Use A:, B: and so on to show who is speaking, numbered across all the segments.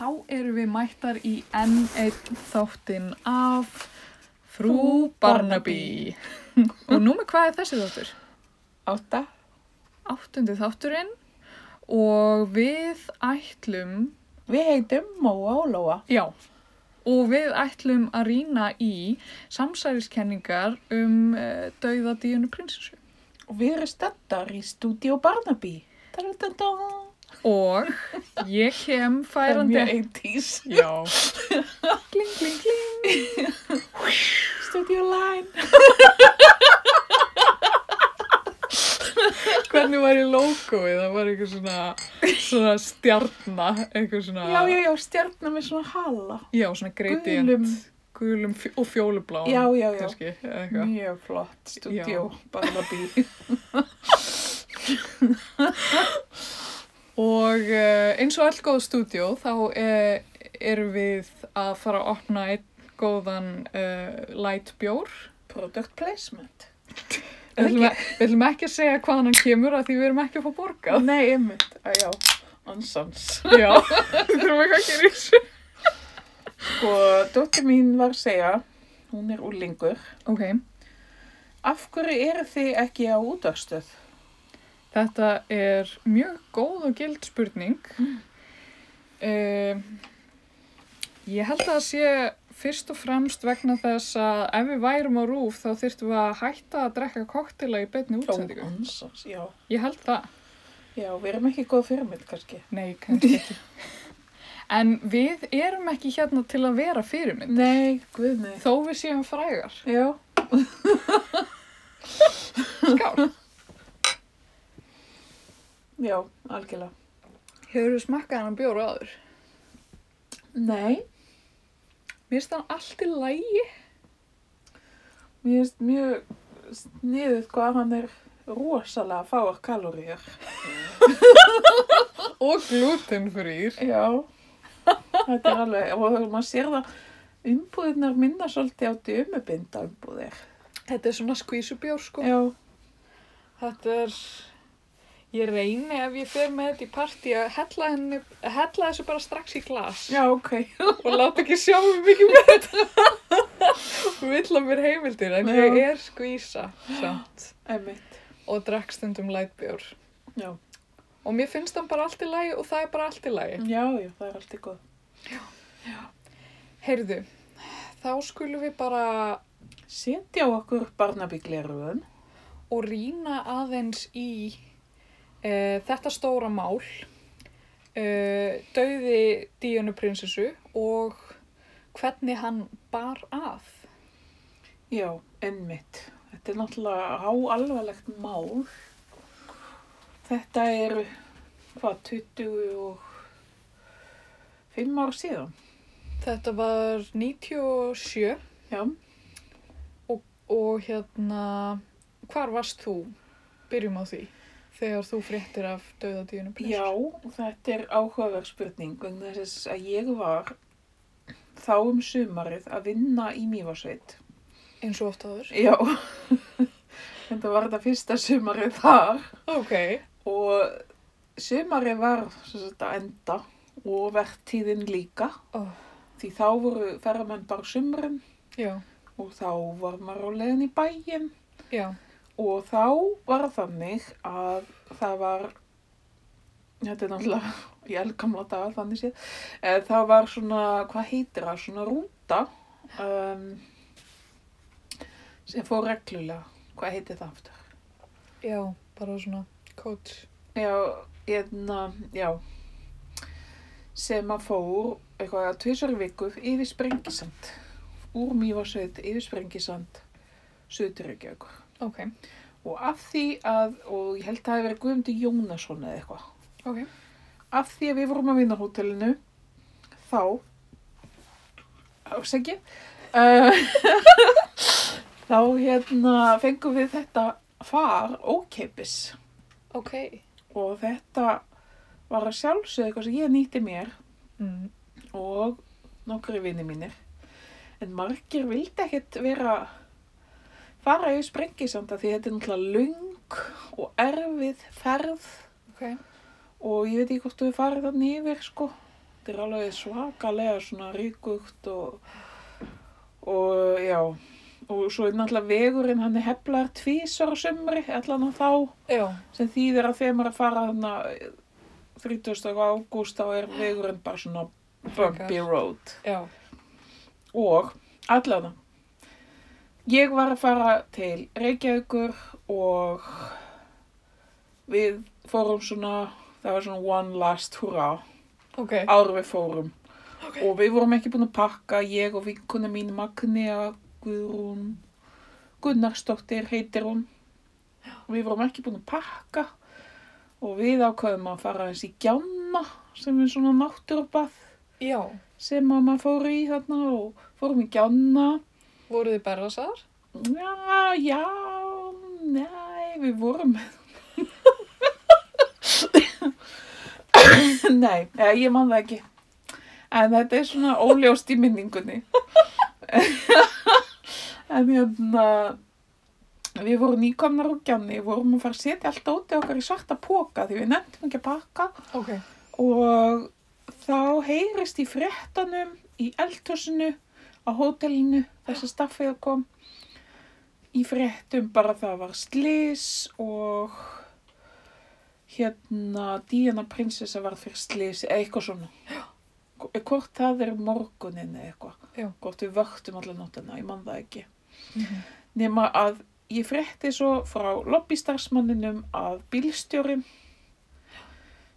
A: Þá erum við mættar í enn einn þáttinn af Frú Barnaby. og númer hvað er þessi þáttur?
B: Átta.
A: Áttundi þátturinn og við ætlum,
B: Við heitum Móa og Lóa.
A: já, og við ætlum að rýna í samsæriskenningar um uh, dauða díunu prinsessu.
B: Og við erum stöndar í Studio Barnaby. Da-da-da-da.
A: Og ég kem
B: Það er
A: færandi...
B: mjög 80s.
A: Já. kling, kling, kling.
B: Studio Line.
A: Hvernig var í logoið? Það var eitthvað svona, svona stjarna, eitthvað svona...
B: Já, já, já, stjarnar með svona hala.
A: Já, svona gradient.
B: Gulum.
A: Gulum. Gulum fjó- og fjólubláum.
B: Já, já, já.
A: Kannski, eða eitthvað.
B: Mjög flott. Studio Barnaby.
A: Og uh, eins og all góð stúdjó, þá uh, erum við að fara að opna einn góðan uh, light bjór.
B: Product placement.
A: Við ætlum að- við ætlum ekki að segja hvaðan hann kemur af því við erum ekki að fá borgað.
B: Nei, einmitt. Æ, já. Ansans.
A: Já, þurfum ekki að gera í þessu.
B: Sko, dóttir mín var að segja, hún er úlingur,
A: Ok,
B: af hverju eru þið ekki á útvarstöð?
A: þetta er mjög góð og gild spurning. Um, ég held að það sé fyrst og fremst vegna þess að ef við værum á rúf þá þyrftum við að hætta að drekka koktila í beinni útsendingu.
B: ansans, já.
A: Ég held það.
B: Já, við erum ekki góð fyrirmynd kannski.
A: Nei, kannski ekki. En við erum ekki hérna til að vera fyrirmynd.
B: Nei, guð nei.
A: Þó við séum frægar.
B: Já,
A: Skál.
B: já, algjörlega.
A: Hefur þú smakkað hann bjóra áður?
B: Nei,
A: Mér finnst hann allt í lægi.
B: mér finnst mjög sniðuð hvað hann er rosalega fáar kaloríur.
A: Og glutenfrýr.
B: Já, þetta er alveg, og maður sér það, umbúðirnar minna svolítið á dömubinda umbúðir.
A: Þetta er svona skvísubjór sko.
B: Já,
A: Þetta er, ég reyni ef ég fer með þetta í partí að hella, henni, að hella þessu bara strax í glas
B: já, ok.
A: og láta ekki sjá mig mikið með þetta. Hún vill að mér heimildir en ég
B: Já.
A: er skvísa samt
B: Einmitt,
A: og drakk stundum lætbjór.
B: já.
A: Og mér finnst hann bara allt í lagi og það er bara allt í lagi.
B: Já, já, það er alltaf góð.
A: Heyrðu, þá skulum við bara
B: Setja á okkur barnabíkleruðun.
A: og rýna aðeins í uh, þetta stóra mál, uh, dauði Díönu prinsessu og hvernig hann bar að.
B: Já, einmitt. Þetta er náttúrulega háalvarlegt mál. Þetta er, hvað, 25 ár síðan?
A: Þetta var 97
B: Já,
A: og hérna, hvar varst þú? Byrjum á því, þegar þú fréttir af dauða Díönu
B: já
A: prinsessu.
B: þetta er áhugaverð spurning. vegna Þess að ég var þá um sumarið að vinna í Mývarsveit.
A: Eins og oft áður.
B: Já, þetta var þetta fyrsta sumarið þar.
A: Ok.
B: Og sumarið var sem sagt, að enda og vertíðin líka.
A: Ó,
B: Því þá voru ferramenn bara á sumrin
A: já,
B: og þá var maður á leiðin í bæin
A: já,
B: og þá var þannig að það var, þetta er náttúrulega í elgamla daga þannig séð, e, það var svona, hvað heitir það, svona rúta um, sem fór reglulega, hvað heitir það aftur?
A: já, bara svona coach.
B: Já, hérna, já, sem að fór eitthvað tvisar viku yfir Sprengisand, úr Mývarsveit yfir Sprengisand, Suðurreykjavíkur.
A: Ok,
B: Og af því að, og ég held að það hefði verið Guðmundur Jónasson eða eitthvað,
A: ok.
B: af því að við vorum að vinna á hótelinu, þá, ásækja, uh, þá hérna fengum við þetta far ókeipis
A: Ok.
B: og þetta var að sjálfsögðu eitthvað sem ég nýtti mér
A: Mm.
B: og nokkri vini mínir. En margir vildi ekkit vera fara yfir sprengisanda því þetta er náttúrulega lung og erfið ferð
A: Ok.
B: og ég veit ekki hvort þú er farið þannig yfir sko. Þetta er alveg svakalega svona ríkugt og, og já, og svo er náttúrulega vegurinn hann er heflar tvísar á sömri, allan á þá,
A: Já.
B: sem þýðir að þegar maður er að fara hann 30. ágúst þá er vegurinn bara svona bumpy road
A: Já.
B: og allan ég var að fara til Reykjavíkur og við fórum svona, það var svona one last hurrah
A: Ok.
B: áður við fórum
A: Ok.
B: og við vorum ekki búin að pakka ég og vinkuna mín Magnea Guðrún Gunnarsdóttir heitir hún við vorum ekki búin að pakka og við ákveðum að fara eins í gjána sem er svona náttúrbað
A: Já.
B: sem að maður fór í þarna og fórum í gjána
A: Voruð þið berðasar?
B: já, já, nei við vorum nei, eh, ég man það ekki en þetta er svona óljóst í minningunni en hérna við vorum nýkomnar úr gjanni vorum að fara að setja allt óti okkar í svarta póka því við nefndum ekki að pakka
A: Ok.
B: og þá heyrist í fréttanum í eldhúsinu á hótelinu þess að staffið kom í fréttum bara það var slis og hérna Diana prinsessa var fyrir slis eða eitthvað svona Hv- hvort það er morgunin eða eitthvað
A: Já.
B: hvort við vöktum allar nóttina, ég man það ekki
A: Mhm.
B: nema að ég frétti svo frá lobbystarfsmanninum að bílstjórin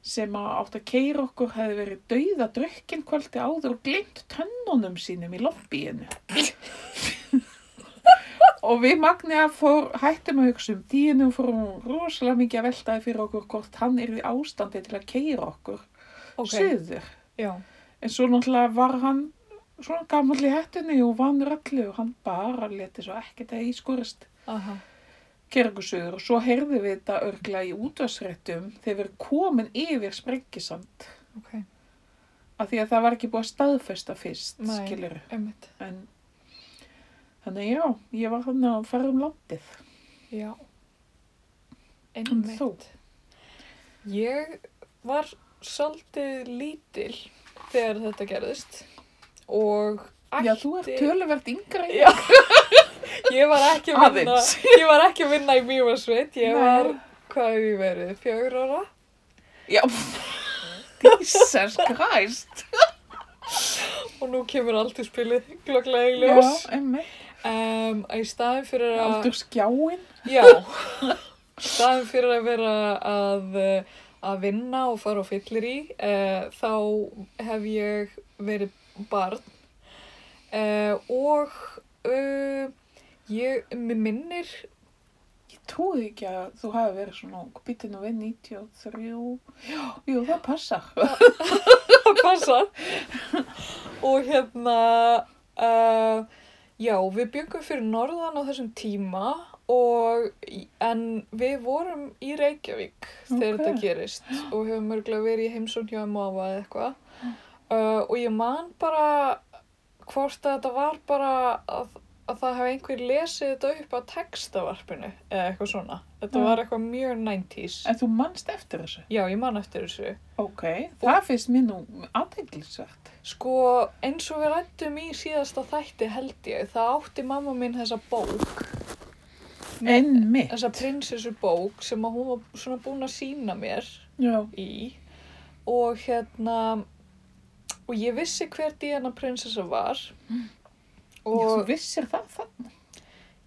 B: sem að átt að keira okkur hefði verið dauða drökkinn kvöldi áður og glimt tönnunum sínum í lobbyinu. og við Magnea fór, hættum að hugsa um díinu og fórum rosalega mikið að veltaði fyrir okkur hvort hann er í ástandi til að keira okkur
A: Ok.
B: suður.
A: Já.
B: En svo náttúrulega var hann svona gamall í hættunni og vann öllu og hann bara leti svo ekkert að ískurist
A: Aha.
B: kerkusugur og svo heyrðum við þetta örgla í útvarsréttum þegar við erum komin yfir sprengisand
A: Ok.
B: af því að það var ekki búið að staðfesta fyrst,
A: Nei.
B: skilur
A: Emmitt.
B: en þannig já, ég var þannig að fara um landið
A: Já.
B: En
A: Einmitt.
B: þú?
A: Ég var svolítið lítil þegar þetta gerðist og ætti...
B: Já, þú ert töluvert yngra í
A: Já. Ég var ekki að vinna,
B: Aðeins.
A: ég var ekki að vinna í Mývarsveit, ég
B: Nei.
A: var, hvað hef ég verið, fjögur ára?
B: Já, Jesus Christ
A: Og nú kemur aldur spilið glokklega í
B: Já,
A: ljós.
B: emmi,
A: Um, í staðin fyrir að...
B: aldur skjáin
A: Já, staðin fyrir að vera að, eh, að vinna og fara á fyllir í, þá hef ég verið barn uh, og uh, ég, mér minnir,
B: Ég trúði ekki að þú hafi verið svona býtin og við 93 Já, jú, það passar
A: það passar, og hérna, uh, já, við byggum fyrir norðan á þessum tíma og, en við vorum í Reykjavík þegar
B: Ok.
A: þetta gerist og hefum örgulega verið í heimsón hjá Máva eða eitthvað
B: Mm.
A: uh, og ég man bara hvort að þetta var bara að, að það hefði einhver lesið þetta upp á textavarpinu eða eitthvað svona. Þetta
B: Já.
A: var eitthvað mjög 90s.
B: Mm. En þú manst eftir þessu
A: Já, ég man eftir þessu.
B: Ok, það finnst mér nú aðteglisvert.
A: Sko, eins og við rættum í síðasta þætti held ég, það átti mamma mín þessa bók,
B: En mitt.
A: þessa prinsessu bók sem að hún var svona búin að sína mér
B: Já.
A: í og hérna, og ég vissi hver Diana prinsessa var
B: Og Mm. þú
A: og
B: vissir það þannig.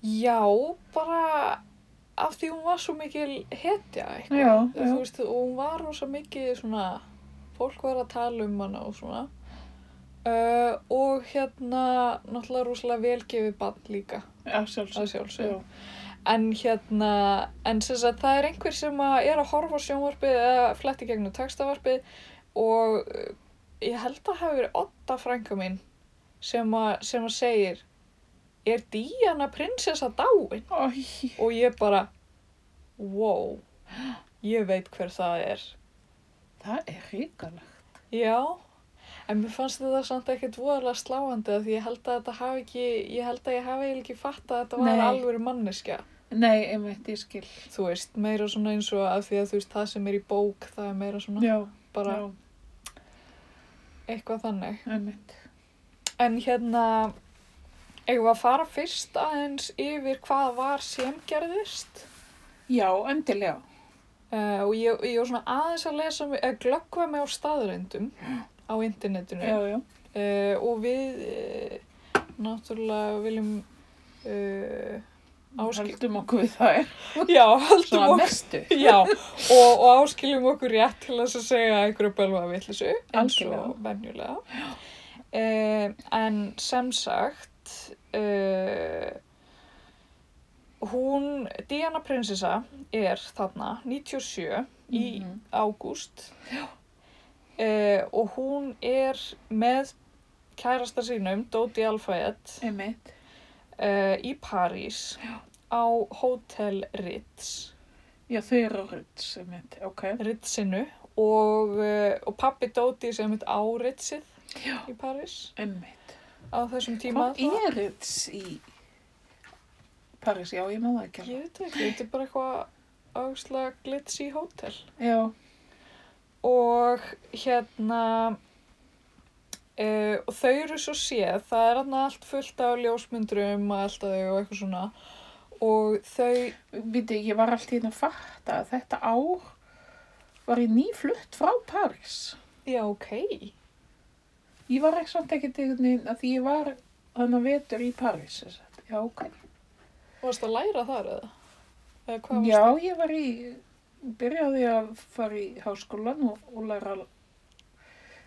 A: já, bara af því hún var svo mikil hetja eitthvað,
B: Já,
A: þú veist, og hún var rosa mikið svona, fólk var að tala um hana og svona uh, og hérna náttúrulega rosalega velgefið bann líka
B: Já,
A: að
B: sjálfsög.
A: sjálfsög en hérna, en sem sagt það er einhver sem að er að horfa á sjónvarpið eða fletti gegnum textavarpið og uh, ég held að hafi verið Otta frænka mín sem að, sem að segir er Díana prinsessa dáin?
B: Æ,
A: og ég bara wow, ég veit hver það er
B: það er ríkalegt.
A: já en mér fannst þetta samt ekkert voðalega sláandi af því ég held að þetta hafi ekki ég held að ég hafi eiginlega ekki fatt að þetta var
B: Nei.
A: alvöru manneskja
B: Nei, einmitt, ég skil.
A: þú veist, meira svona eins og af því að þú veist það sem er í bók það er meira svona
B: Já,
A: bara
B: já.
A: eitthvað þannig.
B: einmitt.
A: En hérna, eigum við að fara fyrst aðeins yfir hvað var sem gerðist?
B: Já, endilega.
A: Uh, og ég, ég var svona aðeins að lesa, mig- eða glöggva mig á staðröndum á internetinu.
B: Já, já.
A: Uh, og við uh, náttúrulega viljum uh, áskil...
B: Haldum okkur við það er.
A: Já, haldum
B: Svona
A: okkur.
B: mestu.
A: Já, og, og áskiljum okkur rétt til þess að segja einhverju bölva vittlisu eins
B: Algjörlega.
A: og venjulega. Uh, en sem sagt, uh, hún, Diana prinsessa er þarna 97 í
B: Mhm.
A: ágúst uh, og hún er með kærasta sínum, Dodi Alfayet,
B: Einmitt.
A: uh, í París á Hotel Ritz,
B: Já, þau eru rödd, einmitt. Ok.
A: Ritzinu og, uh, og pappi Dodi sem heit á Ritzið í París
B: Einmitt.
A: á þessum tíma.
B: Hvað er rödd í París? Já, ég maður það ekki. alveg.
A: Ég veit það ekki, þetta er bara eitthvað ágsla glitsi hótel.
B: Já.
A: og hérna uh, og þau eru svo séð það er hann allt fullt af ljósmyndrum og allt af þau og eitthvað svona og þau,
B: Viti, ég var alltaf inn að fatta að þetta ár var ég nýflutt frá París.
A: já ok
B: Ég var ekki samt ekkert einhvern veginn að því ég var þannig að vetur í París. sem sagt. Já, ok.
A: varst að læra þar eða? eða hvað
B: Já,
A: varst
B: ég var í, byrjaði að fara í háskólan og, og læra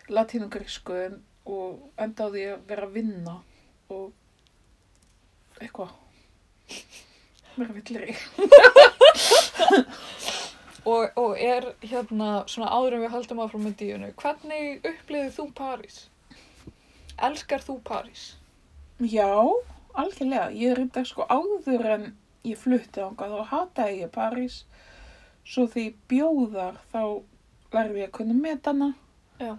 B: latínugrísku en- og endaði að vera að vinna og eitthvað. Mér villir ég.
A: og, og er hérna svona áður en við haldum áfram með díunu hvernig upplifið þú París? elskar þú París?
B: Já, algjörlega. Ég er þetta sko áður en ég flutti ángað og hataði ég París. Svo því bjóðar þá lærði ég að kunna metana.
A: Já.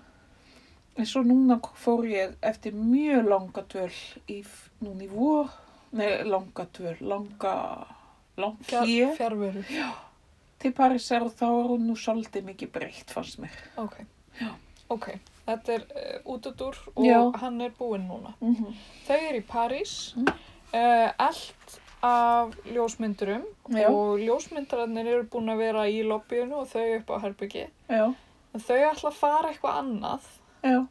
B: En svo núna fór ég eftir mjög langa dvöl í, f- núna í vor. Nei, langa dvöl, langa, langa
A: Fjar,
B: hér
A: fjarveru
B: til Parísar og þá er hún nú svolítið mikið breytt fannst mér.
A: ok,
B: Já.
A: ok þetta er uh, útudur og
B: Já.
A: hann er búinn núna
B: Mm -hmm.
A: Þau eru í París,
B: Mm.
A: uh, allt af ljósmyndurum
B: Já.
A: og ljósmyndararnir eru búin að vera í lobbyinu og þau upp á herbyggi.
B: Já,
A: En þau ætla að fara eitthvað annað
B: já,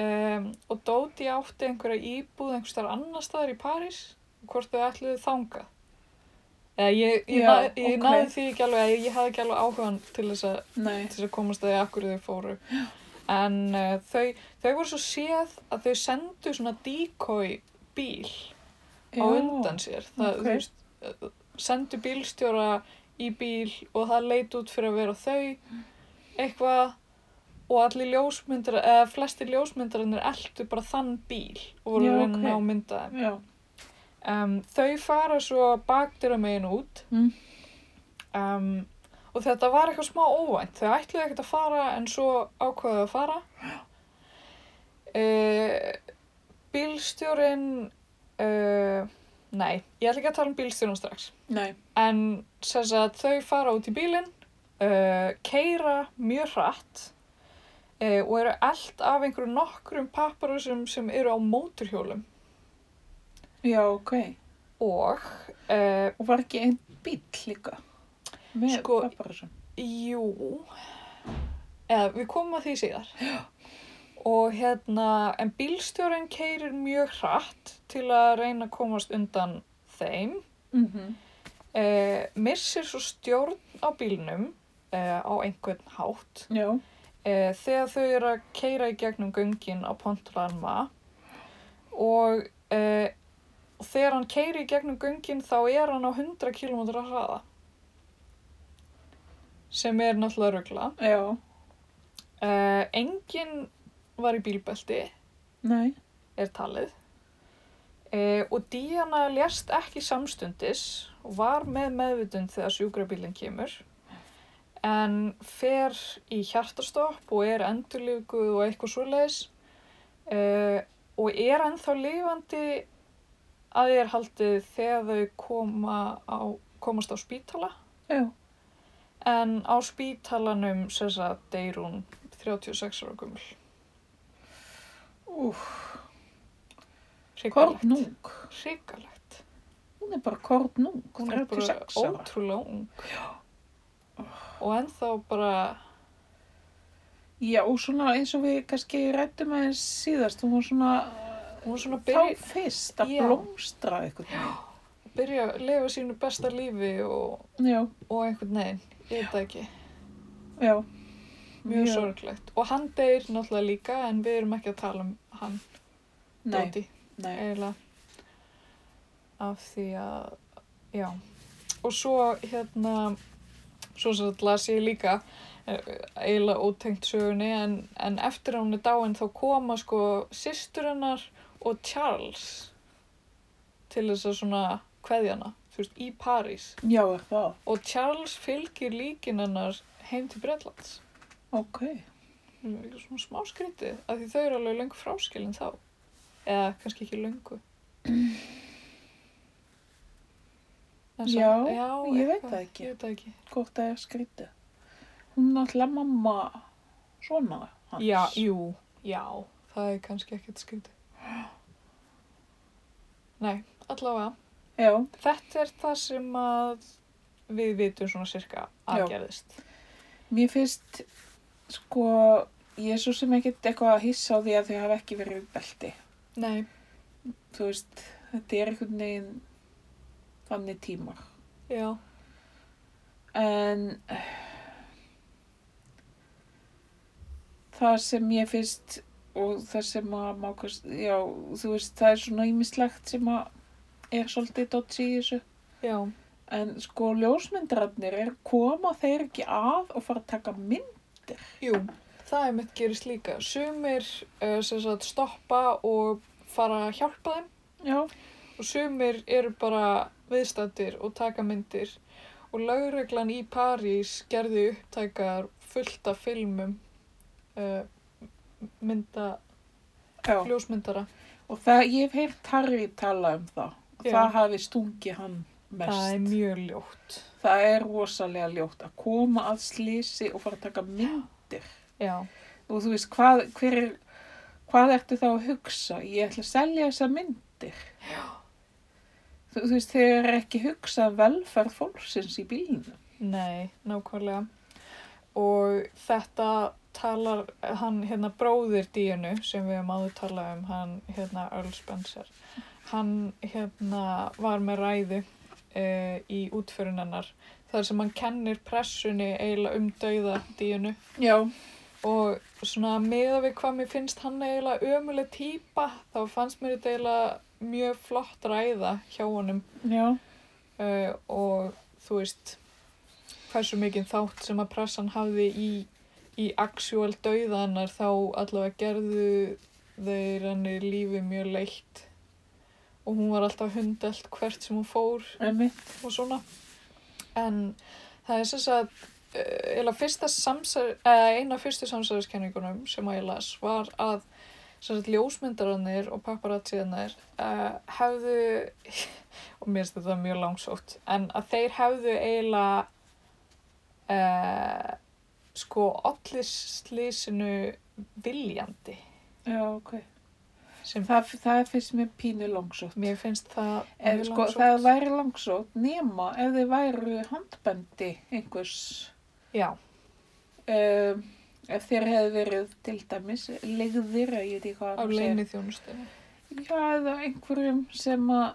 A: um, og Dóti átti einhverja íbúð einhvers þar annar staðar í París og hvort þau ætluðu þangað. Eða ég, ég,
B: Já,
A: nað, ég
B: ok.
A: náði því ekki alveg, ég, ég hafði ekki alveg áhugan til þess að
B: nei,
A: til þess að komast að því akkur þau fóru en uh, þau, þau voru svo séð að þau sendu svona decoy bíl á
B: já,
A: undan sér það,
B: ok.
A: þú veist, eh, sendu bílstjóra í bíl og það leit út fyrir að vera þau eitthvað og allir ljósmyndar eða flestir ljósmyndarannir eldu bara þann bíl og voru
B: Já,
A: að reyna
B: ok.
A: okay. að mynda þeim
B: já,
A: um, þau fara svo bakdyra megin út
B: Mm.
A: um, og þetta var eitthvað smá óvænt þau ætluðu ekkert að fara en svo ákvaðu að fara uh, bílstjórin uh, nei, ég ætla ekki að tala um bílstjórin strax
B: nei,
A: en sem sagt þau fara út í bílinn uh, keira mjög hratt uh, og eru allt af einhverjum nokkrum papparusum sem eru á móturhjólum
B: já, ok.
A: og uh,
B: Og var ekki einn bíll líka? Með
A: Sko-
B: sko, paparasum?
A: Jú, eða við komum að því síðar. Og hérna, en bílstjórin keirir mjög hratt til að reyna að komast undan þeim.
B: Mm -hmm.
A: E, missir svo stjórn á bílnum e, á einhvern hátt
B: Já,
A: e, þegar þau eru að keira í gegnum göngin á Pontolarma og e, þegar hann keiri í gegnum göngin þá er hann á 100 km hraða sem er náttúrulega rugla.
B: já,
A: Uh, enginn var í bílbelti,
B: nei,
A: er talið, uh, og Díana lést ekki samstundis og var með meðvitund þegar sjúkrabílinn kemur, en fer í hjartastopp og er endurlíkuð og eitthvað svoleiðis uh, og er ennþá lifandi að því er haldið þegar þau koma á, komast á spítala.
B: já,
A: En á spítalanum, sem sagt, deyr hún 36 ára gummul.
B: Úf,
A: Hrikalegt.
B: kornung.
A: Hrikalegt.
B: Hún er bara kornung,
A: Hún er
B: 36
A: bara
B: ára.
A: ótrúlega ung. Og ennþá bara,
B: Já, og svona eins og við kannski rættum aðeins síðast, hún var svona,
A: hún er svona að
B: þá
A: byrja,
B: fyrst að
A: Já.
B: blómstra eitthvað. Já.
A: byrja að lifa sínu besta lífi og,
B: Já,
A: og einhvern veginn. Ég veit það ekki.
B: já.
A: Mjög sorglegt. Og hann deyr náttúrulega líka en við erum ekki að tala um hann,
B: Nei,
A: Dóti,
B: nei.
A: eiginlega. Af því að, já. Og svo hérna, svo sem þetta las ég líka, eh, eiginlega ótengt sögunni, en, en eftir að hún er dáin þá koma sko systur hennar og Charles til þess að svona kveðjana, þú veist, í París.
B: Já, er það.
A: Og Charles fylgir líkin hennar heim til Bretlands.
B: Ok.
A: Það er svona smá skrítið, af því þau eru alveg löngu fráskilin þá. Eða kannski ekki löngu. En
B: Já,
A: já,
B: ég veit
A: eitthvað,
B: það ekki.
A: Ég veit það ekki.
B: Hvort það er skrítið. Hún er alltaf mamma svona hans.
A: Já, jú, já, það er kannski ekkert skrítið. Nei, allavega,
B: Já,
A: þetta er það sem að við vitum svona sirka
B: Já.
A: aðgerðist.
B: mér finnst, sko, ég er svo sem ekkert eitthvað að hissa á því að þau hafa ekki verið við belti.
A: Nei,
B: Þú veist, þetta er einhvern veginn þannig tímar.
A: já,
B: En eh, það sem ég finnst og það sem að má, kannski- já, þú veist, það er svona ímislegt sem að er svolítið dodgy í þessu.
A: já,
B: En sko ljósmyndararnir er koma þeir ekki að og fara að taka mynd.
A: jú, það er mitt gerist líka. Sumir uh, sem sagt stoppa og fara að hjálpa þeim.
B: Já.
A: og sumir eru bara viðstættir og taka myndir og lauruglan í París gerði upptækar fullt af filmum uh, mynda
B: Já.
A: ljósmyndara
B: Og það, ég hef heyrt Harry tala um það.
A: Já.
B: Það hafi stungið hann mest.
A: það er mjög ljótt
B: rosalega ljótt að koma að slísi og fara að taka myndir.
A: já,
B: Og þú veist, hvað, hver er, hvað ertu þá að hugsa? Ég ætla að selja þessa myndir. Já. Þú, þú veist, þeir eru ekki hugsað um velferð fólksins í bílinu.
A: nei, nákvæmlega og þetta talar hann hérna bróðir díinu sem við höfum áður talað um hann hérna Earl Spencer hann hérna var með ræðu uh, í útförunennar þar sem hann kennir pressunni eiginlega um dauða díinu
B: Já.
A: og svona meða við hvað mér finnst hann eiginlega ömuleg típa þá fannst mér þetta eiginlega mjög flott ræða hjá honum
B: Já.
A: uh, og þú veist hversu mikið þátt sem að pressan hafði í, í actual dauðanar þá allavega gerðu þeir henni lífið mjög leitt og hún var alltaf hundelt hvert sem hún fór
B: Einmitt.
A: og svona en það er sem sagt eh, eiginlega fyrsta samsæð eða eina af fyrstu samsæðiskenningunum sem að ég las var að sem sagt ljósmyndarannir og paparazziðanir uh, hefðu og mér finnst þetta mjög langsótt en að þeir hefðu eiginlega uh, sko allir slísinu viljandi
B: Já, ok.
A: sem
B: Það, það finnst mér pínu langsótt.
A: mér finnst það
B: En
A: mjög
B: sko, það væri langsótt nema ef þið væru handbendi einhvers,
A: já,
B: um, ef þér hefði verið til dæmis leigðir, að ég veit ekki hvað
A: á
B: hann segir.
A: leini þjónustinu
B: Já, eða einhverjum sem að,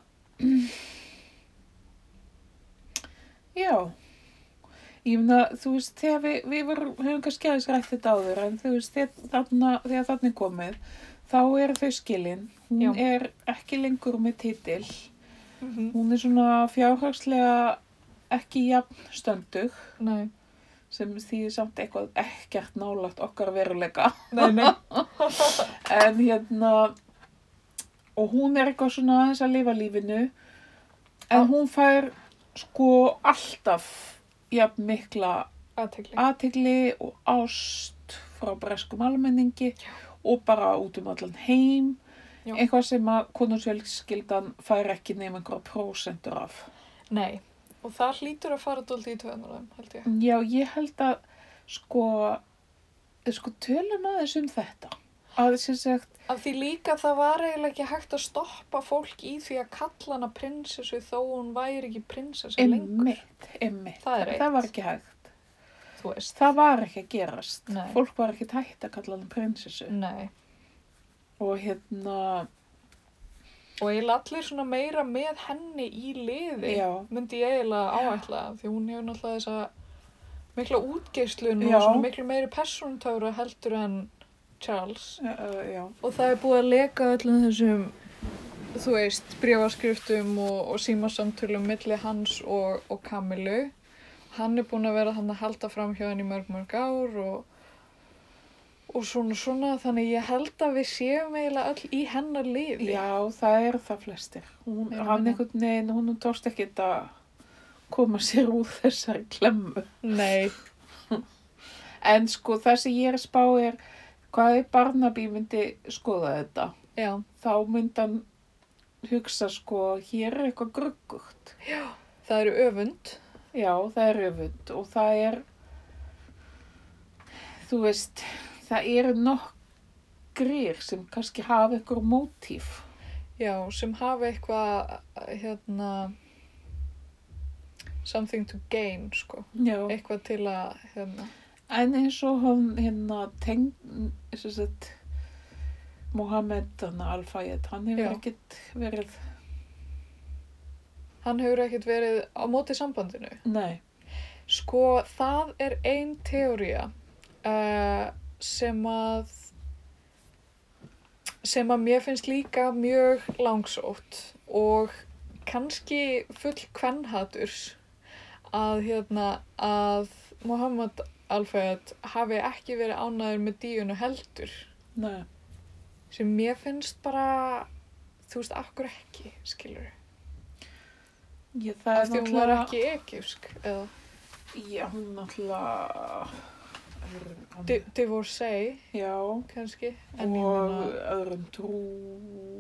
B: já, ég meina, þú veist, þegar við, við varum, höfum kannski aðeins rætt þetta áður, en þú veist, þegar þarna, þegar þarna er komið, þá eru þau skilin, hún
A: Já.
B: er ekki lengur með titill.
A: mm -hmm.
B: Hún er svona fjárhagslega ekki jafn stöndug
A: nei
B: sem þýðir samt eitthvað ekkert nálagt okkar veruleika.
A: Nei, nei.
B: En hérna, og hún er eitthvað svona aðeins að lifa lífinu, en hún fær sko alltaf jafn mikla
A: Aðtegli.
B: aðtegli og ást frá breskum almenningi og bara út um allan heim,
A: Já.
B: eitthvað sem að konungsfjölskyldan fær ekki nema einhverja prósentur af.
A: Nei. Og það hlýtur að fara dóldi í töðunar þeim, held ég.
B: Já, ég held að sko, sko tölum aðeins um þetta. Að sem sagt,
A: Af því líka það var eiginlega ekki hægt að stoppa fólk í því að kalla hana prinsessu þó hún væri ekki prinsessa lengur.
B: Emmitt, emmitt.
A: Það er
B: Það
A: eitt.
B: var ekki hægt.
A: Þú veist.
B: Það var ekki að gerast.
A: Nei.
B: Fólk var ekki tætt að kalla hann prinsessu.
A: Nei.
B: Og hérna,
A: Og eiginlega allir svona meira með henni í liði.
B: já,
A: Myndi ég eiginlega áætla því hún hefur náttúrulega þessa mikla útgeislun
B: Já.
A: og svona miklu meiri persóntöfra heldur en Charles.
B: já, já,
A: Og það er búið að leka öllum þessum, þú veist, bréfaskriftum og, og símasamtölum milli hans og, og Kamilu. Hann er búin að vera þannig að halda fram hjá henni í mörg mörg ár og, og svona svona. Þannig ég held að við séum eiginlega öll í hennar liði.
B: já, það eru það flestir. Hún,
A: Meira og
B: hann
A: minna.
B: einhvern veginn, hún tókst ekki að koma sér úr þessari klemmu.
A: Nei,
B: En sko, það sem ég er að spá er, hvað er Barnaby myndi skoða þetta?
A: já,
B: Þá myndi hann hugsa sko, hér er eitthvað gruggugt.
A: það eru öfund.
B: Já, það er öfund og það er, þú veist, það eru nokkrir sem kannski hafa einhver mótíf.
A: Já, sem hafa eitthvað, hérna, something to gain, sko.
B: Já.
A: Eitthvað til að, hérna,
B: En eins og hann hérna teng, sem sagt, Mohamed, hann Al-Fayed, hann
A: Já.
B: hefur ekkert verið,
A: hann hefur ekkert verið á móti sambandinu.
B: nei,
A: Sko, það er ein teória uh, sem að sem að mér finnst líka mjög langsótt og kannski full kvennhaturs að hérna að Mohamed Alfred hafi ekki verið ánæður með díunu heldur
B: nei,
A: sem mér finnst bara þú veist, akkur ekki, skilur
B: ég, það
A: af því hún var ekki egypsk eða
B: Já, hún náttúrulega öðrum, hann,
A: di- divorcee
B: já,
A: kannski en ég
B: og
A: meina
B: öðrum trú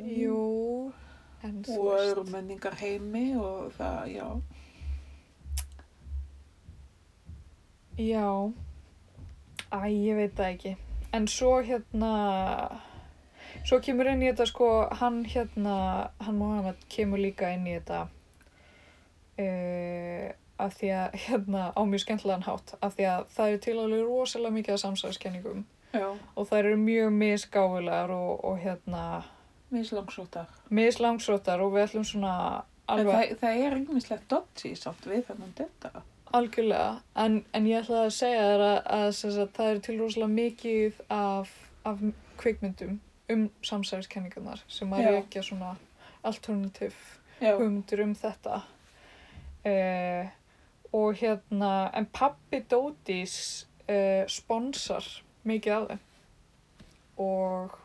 A: jú, en þú
B: og
A: veist
B: öðrum menningar heimi og það, já,
A: já, æ, ég veit það ekki en svo hérna svo kemur inn í þetta sko hann hérna, hann Mohamed kemur líka inn í þetta uh, af því að hérna á mjög skemmtilegan hátt af því að það eru til alveg rosalega mikið af samsæðiskenningum
B: já,
A: og það eru mjög misgáfulegar og, og hérna
B: mislangsóttar.
A: mislangsóttar og við ætlum svona
B: En
A: alveg
B: það, það er yngislegt dodgy samt við þennan þetta.
A: Algjörlega, en, en ég ætlaði að segja þér að, að, að, að það er til rosalega mikið af, af kvikmyndum um samsæðiskenningarnar sem að
B: Já.
A: reykja svona alternativ
B: Já,
A: hugmyndur um þetta. Eh, og hérna, en pappi Dótís eh, sponsar mikið af þeim og,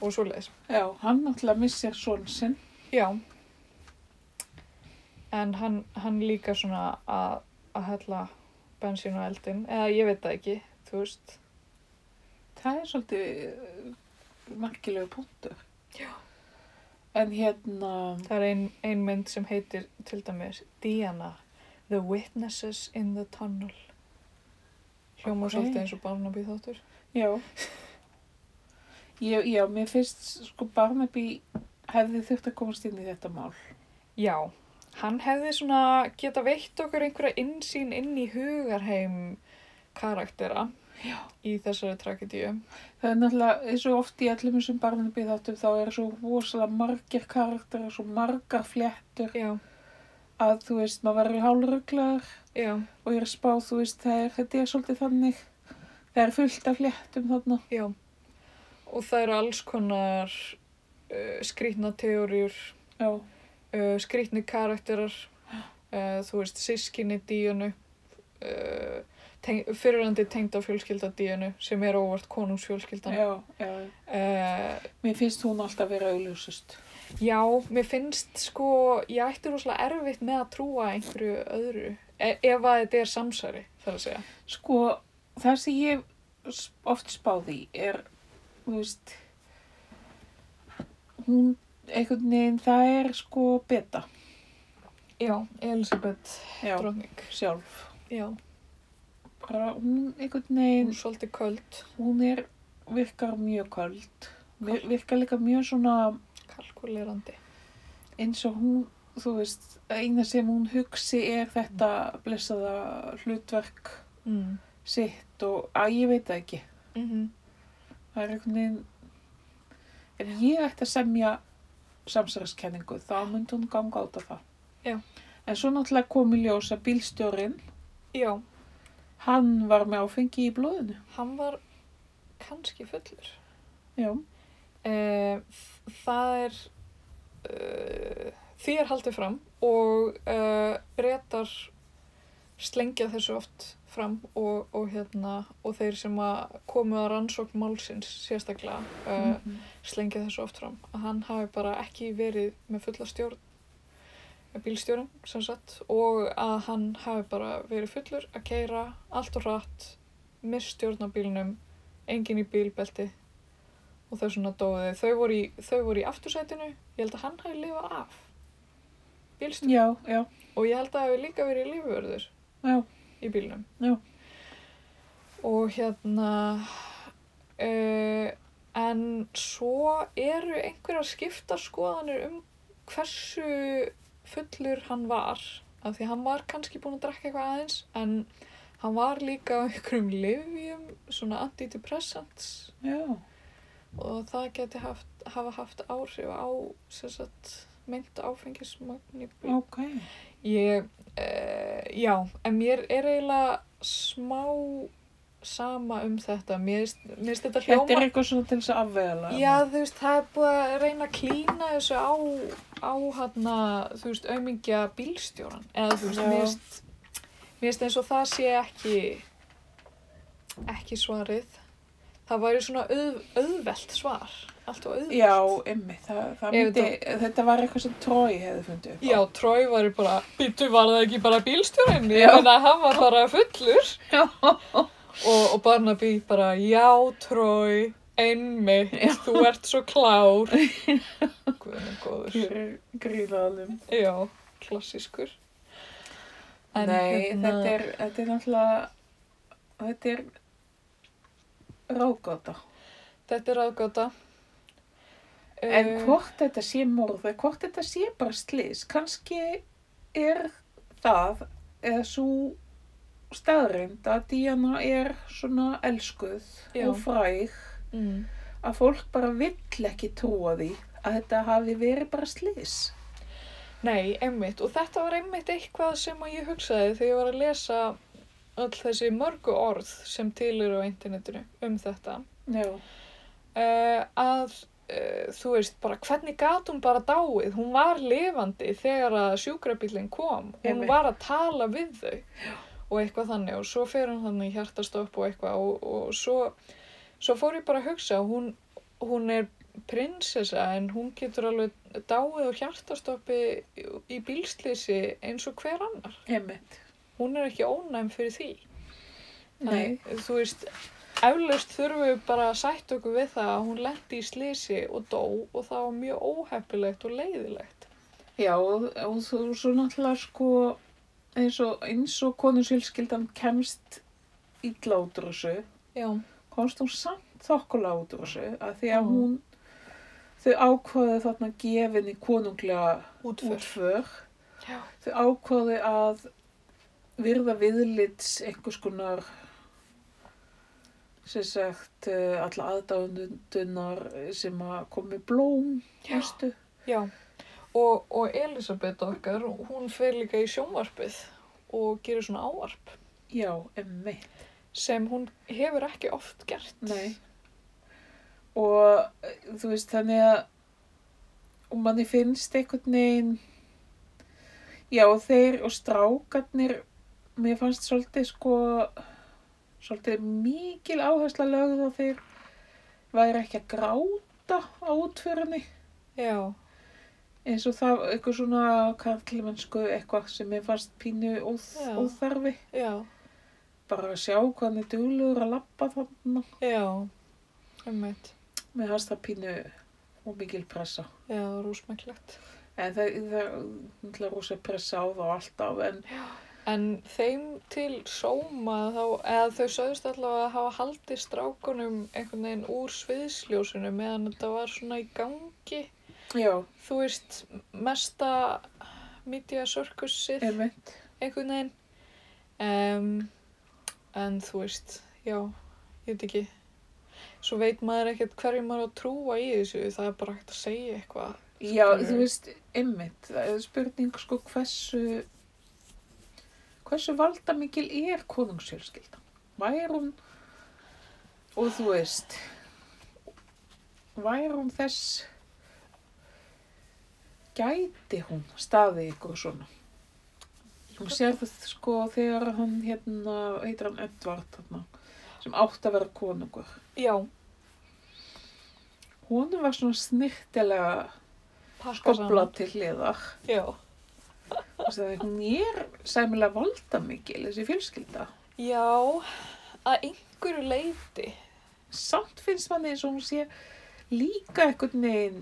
A: og svoleiðis.
B: já, hann náttúrulega missir són sinn.
A: Já. En hann, hann líka svona að, að hella bensín á eldin. Eða ég veit það ekki, þú veist.
B: Það er svolítið uh, merkilegu punktur. Já. En hérna,
A: Það er ein, ein mynd sem heitir til dæmis Diana, The Witnesses in the Tunnel. Hljóma
B: Ok.
A: svolítið eins og Barnaby þáttur.
B: já, ég, já, mér finnst sko Barnaby hefði þurft að komast inn í þetta mál.
A: Já, hann hefði svona geta veitt okkur einhverja innsýn inn í hugarheim karaktera Já. í þessari tragedíu.
B: Það er náttúrulega eins og oft í allum þessum barnabíð þáttum þá er svo rosalega margir karakterar, svo margar fléttur
A: Já,
B: að þú veist, maður verður háluruglaður
A: já,
B: og ég er að spá, þú veist, það er, þetta er svolítið þannig. Það er fullt af fléttum þarna.
A: Já, og það eru alls konar uh, skrýtna teóriur,
B: Já,
A: uh, skrýtni karakterar, uh, þú veist, sískinni díunu, uh, teng fyrirandi tengda fjölskylda díunu sem er óvart konungsfjölskyldan.
B: já, já.
A: Uh,
B: Mér finnst hún alltaf vera auðljósust.
A: já, mér finnst sko, ég ætti rosalega erfitt með að trúa einhverju öðru, e ef að þetta er samsari, þar að segja.
B: Sko, það sem ég s- oft spáði er, þú veist, hún, einhvern veginn, það er sko beta.
A: Já, Elisabeth,
B: Já,
A: dronning,
B: sjálf.
A: já,
B: Bara hún einhvern
A: hún
B: veginn,
A: er svolítið köld.
B: hún er, virkar mjög köld. Mér virkar líka mjög svona
A: kalkulerandi.
B: eins og hún, þú veist, eina sem hún hugsi er þetta blessaða hlutverk
A: Mm.
B: sitt og að ég veit það ekki.
A: Mm -hmm.
B: Það er einhvern veginn, ef ég ætti að semja samsæðiskenningu, þá myndi hún ganga át af það.
A: Já.
B: En svo náttúrulega kom í ljós að bílstjórinn,
A: Já,
B: hann var með áfengi í blóðinu.
A: hann var kannski fullur.
B: Já.
A: Eh, það er, uh, því er haldið fram og uh, breytar slengja þessu oft fram og, og, hérna, og þeir sem að komu að rannsókn málsins sérstaklega uh,
B: Mhm.
A: slengja þessu oft fram að hann hafi bara ekki verið með fulla stjórn bílstjórn sem sagt og að hann hafi bara verið fullur að keira allt og hratt misstjórn á bílnum engin í bílbelti og þau svona dóðu þau voru í, þau voru í aftursætinu ég held að hann hafi lifað af bílstjórn
B: Já, já,
A: og ég held að hafi líka verið lífvörður
B: já.
A: í bílnum
B: Já.
A: og hérna uh, en svo eru einhverjar skipta skoðanir um hversu fullur hann var af því hann var kannski búinn að drekka eitthvað aðeins en hann var líka á einhverjum lifjum svona antidepressants
B: Já,
A: og það geti haft, hafa haft áhrif á sem sagt meint áfengismagn í bíl
B: ok.
A: Ég, uh, já, en mér er eiginlega smá sama um þetta. Mér finnst- mér finnst þetta hljóma...
B: Þetta er eitthvað svona til þess að afvegala.
A: Já, þú veist, það er búið að reyna að klína þessu á, á hann þú veist, aumingja bílstjóran. Eða, þú veist,
B: Já.
A: mér finnst, mér finnst eins og það sé ekki, ekki svarið. Það væri svona auð, auðvelt svar, allt og auðvelt.
B: Já, ymmi, það, það
A: Ef
B: myndi, þetta var eitthvað sem Trói hefði fundið upp á.
A: Já, Trói var bara, býttu var það ekki bara bílstjórinn,
B: Já.
A: ég meina hann var bara fullur.
B: Já.
A: Og, og Barnaby bara, já Trói, einmitt, þú ert svo klár. Guðnum góður.
B: Gríðalum.
A: Já, klassískur. En
B: Nei,
A: hérna-
B: þetta, er, þetta er náttúrulega, þetta er ráðgáta.
A: Þetta er Eh, aðgata.
B: En hvort þetta sé morð, eða hvort þetta sé bara slis, kannski er það eða svo staðrind að Díana er svona elskuð
A: Já.
B: og fræg
A: Mm,
B: að fólk bara vill ekki trúa því að þetta hafi verið bara slis.
A: nei, einmitt. Og þetta var einmitt eitthvað sem að ég hugsaði þegar ég var að lesa öll þessi mörgu orð sem til eru á internetinu um þetta.
B: Já,
A: uh, að uh, þú veist bara hvernig gat hún bara dáið hún var lifandi þegar að sjúkrabílinn kom hún
B: Einmitt.
A: var að tala við þau og eitthvað þannig og svo fer hún þannig í hjartastopp og eitthvað og, og svo, svo fór ég bara að hugsa hún, hún er prinsessa en hún getur alveg dáið á hjartastoppi í, í bílslýsi eins og hver annar
B: einmitt.
A: hún er ekki ónæm fyrir því
B: Nei.
A: Nei, þú veist, eflaust þurfum við bara að sætt okkur við það að hún lendi í slísi og dó og það var mjög óheppilegt og leiðilegt.
B: Já, og, og þú svo náttúrulega sko eins og, eins og konusjölskyldan kemst illa út úr þessu,
A: Já,
B: komst hún samt þokkulega út úr þessu að því að
A: Mm.
B: hún, þau ákvaðu þarna gefinni konunglega
A: útför.
B: útför,
A: Já.
B: þau ákvaðu að virða viðlits einhvers konar sem sagt eh, alla aðdáðundunar sem að komi blóm,
A: Já.
B: veistu?
A: Já, og, og Elisabeth okkar, hún fer líka í sjónvarpið og gerir svona ávarp
B: Já, emmi.
A: sem hún hefur ekki oft gert.
B: Nei. Og eh, þú veist þannig að og manni finnst einhvern veginn já og þeir og strákarnir mér fannst svolítið sko svolítið mikil áhersla lögð og þeir væri ekki að gráta á útförinni
A: Já,
B: eins og það eitthvað svona karlmennsku eitthvað sem mér fannst pínu óþ,
A: Já.
B: óþarfi
A: já,
B: bara að sjá hvað hann er duglegur að labba þarna
A: já, einmitt.
B: mér fannst það pínu og mikil pressa
A: Já, rúsmæklegt.
B: En það, það er náttúrulega rosa pressa á þá alltaf en,
A: En þeim til sóma þá, eða þau sögðust allavega að hafa haldið strákunum einhvern veginn úr sviðsljósinu meðan þetta var svona í gangi,
B: Já,
A: þú veist, mesta media circusið
B: einmitt.
A: einhvern veginn. Um, en þú veist, já, ég veit ekki. Svo veit maður ekkert hverju maður á að trúa í þessu, það er bara ekkert að segja eitthvað.
B: Já,
A: Skilurðu?
B: þú veist, einmitt. Það er spurning sko hversu, hversu valdamikil er konungsfjölskyldan? Væri hún, og þú veist, væri hún þess, gæti hún staði ykkur svona? Hún sér það sko þegar hann hérna, heitir hann Edvard hérna, sem átt að vera konungur.
A: Já,
B: Hún var svona snirtilega
A: pakka
B: skobla til hliðar.
A: Já.
B: Þessi að hún er sæmilega valdamikil, þessi fjölskylda.
A: Já, að einhverju leiti.
B: Samt finnst manni eins og hún sé líka einhvern veginn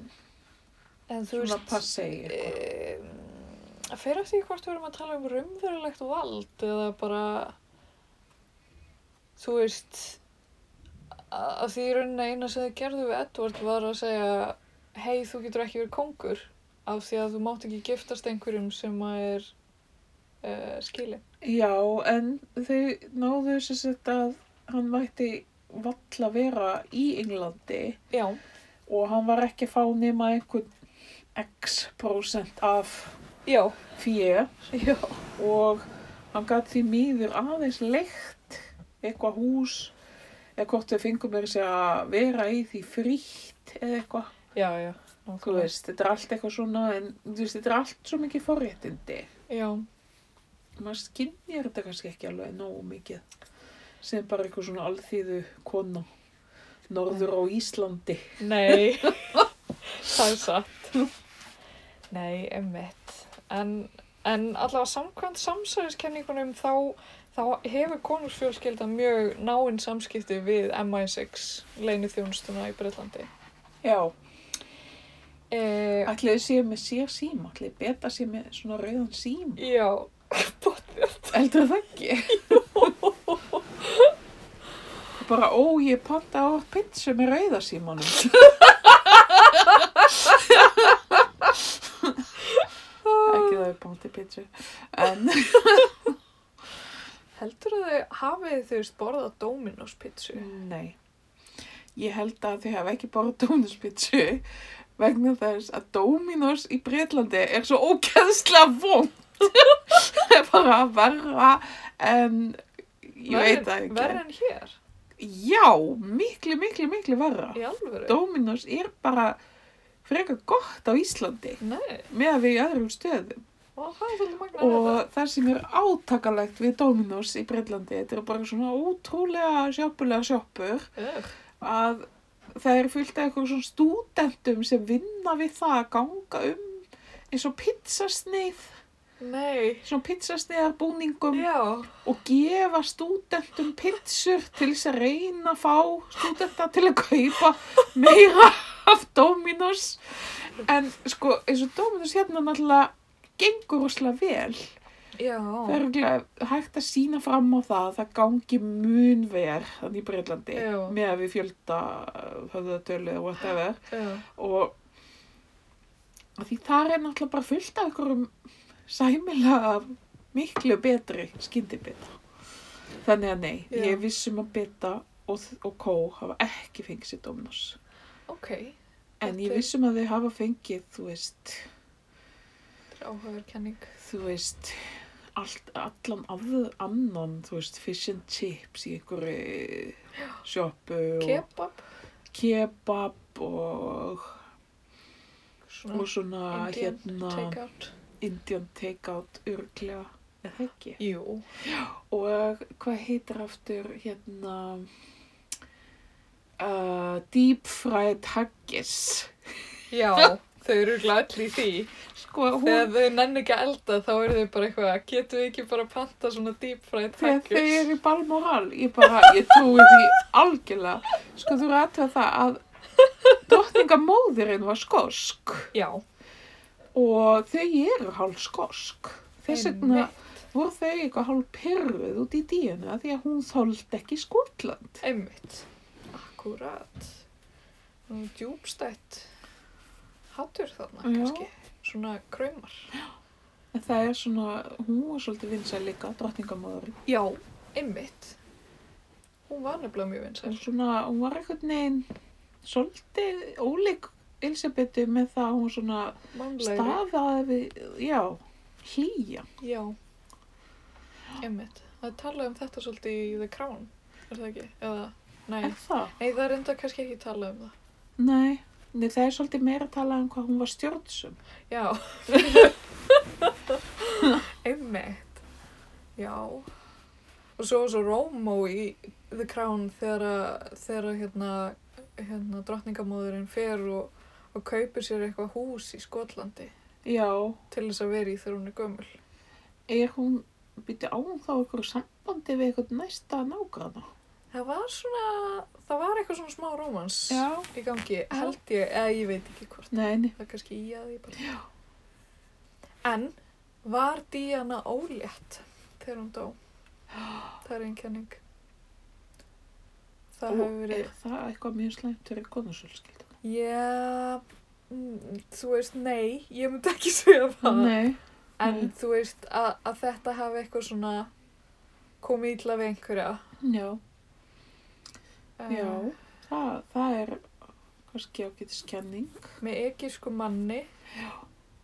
A: En þú
B: svona
A: veist,
B: passei.
A: um, að fyrir eftir því hvort við erum að tala um raunverulegt vald eða bara, þú veist, að að því í rauninni eina sem þið gerðu við Edward var að segja, hei, þú getur ekki verið kongur af því að þú mátt ekki giftast einhverjum sem að er uh, skilin.
B: Já, en þau náðu sér sett að hann mætti valla vera í Englandi
A: Já,
B: og hann var ekki að fá nema einhvern x prósent af
A: já,
B: fjö
A: já,
B: og hann gat því mýður aðeins leikt eitthvað hús eða hvort þau fengum mér sér að vera í því frítt eða eitthvað
A: já, já.
B: þú
A: nákvæmlega.
B: veist, þetta er allt eitthvað svona en þú veist, þetta er allt svo mikið forréttindi
A: Já,
B: maður skinnir þetta kannski ekki alveg nógu mikið sem bara eitthvað svona alþýðu kona norður á Íslandi
A: Nei, það er satt. Nei, emmitt. En, en allavega samkvæmt samsæðiskenningunum þá, þá hefur konungsfjölskylda mjög náinn samskipti við MI6, leinu þjónustuna í Breitlandi.
B: já,
A: E,
B: ætliði séu með sér síma ætliði beta séu með svona rauðan síma
A: já, bóttið.
B: heldur það ekki bara ó, ég panta á pizza með rauða símanum ekki það er panta pizza en
A: Heldur þau hafið þau veist borðað Dominos pizzu?
B: Nei. Ég held að þau hafa ekki borðað Dominos-pizzu vegna þess að Dominos í Breitlandi er svo ógeðslega vond. Það er bara verra en ég veit það ekki.
A: Verð en hér,
B: Já, miklu, miklu, miklu verra.
A: í alvöru?
B: Dominos er bara frekar gott á Íslandi
A: Nei,
B: með að við í öðrum stöðum.
A: og það er svolítið magna
B: Og það sem er átakalegt við Dominos í Breitlandi, þetta er bara svona ótrúlega sjoppulega sjoppur
A: þetta.
B: að það er fullt af eitthvað svona stúdentum sem vinna við það að ganga um eins og pizzasneið,
A: Nei,
B: svona pizzasneiðarbúningum
A: já,
B: og gefa stúdentum pizzur til þess að reyna að fá stúdenta til að kaupa meira af Dominos. En sko, eins og Dominos hérna náttúrulega gengur rosalega vel.
A: já.
B: Það er örugglega hægt að sína fram á það að það gangi mun ver þannig í Breitlandi
A: Já.
B: með að við fjölda höfðatölu eða whatever
A: já.
B: og af því þar er náttúrulega bara fullt af einhverjum sæmilega miklu betri skyndibita. Þannig að nei,
A: Já.
B: ég er viss um að bita og, og kó hafa ekki fengið sér Dominos.
A: Ok,
B: En ég
A: Þetta-
B: viss um að þau hafa fengið, þú veist,
A: þetta er áhugaverð kenning.
B: þú veist, allt, allan aður annan, þú veist, fish and chips í einhverju sjoppu og
A: Kebab,
B: kebab og,
A: svona
B: og svona
A: Indian
B: hérna
A: take-out.
B: Indian takeout örglega eða ekki.
A: Jú.
B: Og hvað heitir aftur hérna uh, deep fried haggis.
A: Já, þau eru glæðli í því.
B: Sko,
A: Þegar
B: hún,
A: þau nenni ekki að elda þá eru þau bara eitthvað, getum við ekki bara að panta svona deep fried
B: þegar þau
A: haggis?
B: eru í balmoral, ég bara, ég trúi því algjörlega. Sko, þú eru aðtöða það að drottningamóðirinn var skosk
A: Já,
B: og þau eru hálf skosk. Þess vegna
A: einmitt.
B: voru þau eitthvað hálf pyrruð út í díunu að því að hún þóld ekki Skotland.
A: Einmitt. Akkurat. Nú djúbstætt hattur þarna
B: Já.
A: kannski. Svona kraumar.
B: En það er svona, hún var svolítið vinsæl líka, drottningamóðurinn.
A: Já, einmitt. Hún var nefnilega mjög
B: Það
A: vinsæl.
B: er svona, hún var einhvern veginn svolítið ólík Elsabetu með það að hún svona
A: Mannlegri.
B: stafaði við, já, hlýja.
A: Já. Einmitt. Það er talað um þetta svolítið í The Crown, er það ekki? Eða, nei.
B: Er það?
A: Nei, það er enda kannski ekki talað um það.
B: Nei, nei, það er svolítið meira að tala um hvað hún var stjórnsum.
A: Já. einmitt. Já. Og svo svo Rómó í The Crown þegar, að- þegar að, hérna, hérna drottningamóðurinn fer og, og kaupir sér eitthvað hús í Skotlandi
B: Já,
A: til þess að vera í þegar hún er gömul.
B: er hún, byrju á hún þá okkur sambandi við eitthvað næsta nágrana?
A: Það var svona, það var eitthvað svona smá rómans í gangi, held ég, eða ég veit ekki hvort,
B: Nei, nei.
A: það er kannski í að ég bara. Já. En var Díana ólétt þegar hún dó? Það er einkenning. Það
B: Og
A: hefur
B: er
A: verið,
B: það eitthvað mjög slæmt fyrir konusölskylduna?
A: já, mm, þú veist, nei, ég myndi ekki segja það.
B: Nei.
A: En
B: nei.
A: þú veist, að, að þetta hafi eitthvað svona komið illa við einhverja.
B: Já.
A: eh,
B: Já. Það, það er kannski ágæti skenning.
A: með egísku manni eh, Já.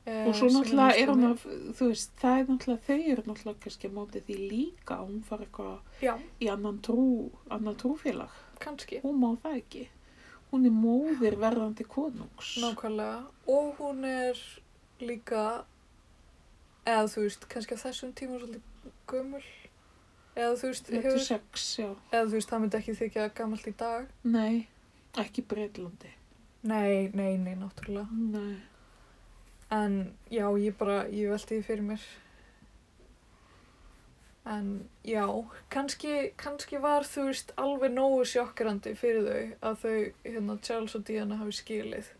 B: Og svo náttúrulega er hún að, þú veist, það er náttúrulega, þau eru náttúrulega kannski á móti því líka að hún fara eitthvað
A: Já,
B: í annan trú, annan trúfélag.
A: kannski,
B: Hún má það ekki. Hún er móðir verðandi konungs.
A: nákvæmlega og hún er líka eða þú veist, kannski á þessum tíma svolítið gömul eða þú veist, hefur,
B: 26, já.
A: eða þú veist, það myndi ekki þykja gamalt í dag
B: Nei, ekki Breitlandi.
A: Nei, nei, nei, náttúrulega
B: Nei.
A: en já, ég bara, ég velti því fyrir mér en já, kannski kannski var þú veist alveg nógu sjokkrandi fyrir þau að þau, hérna, Charles og Diana hafi skilið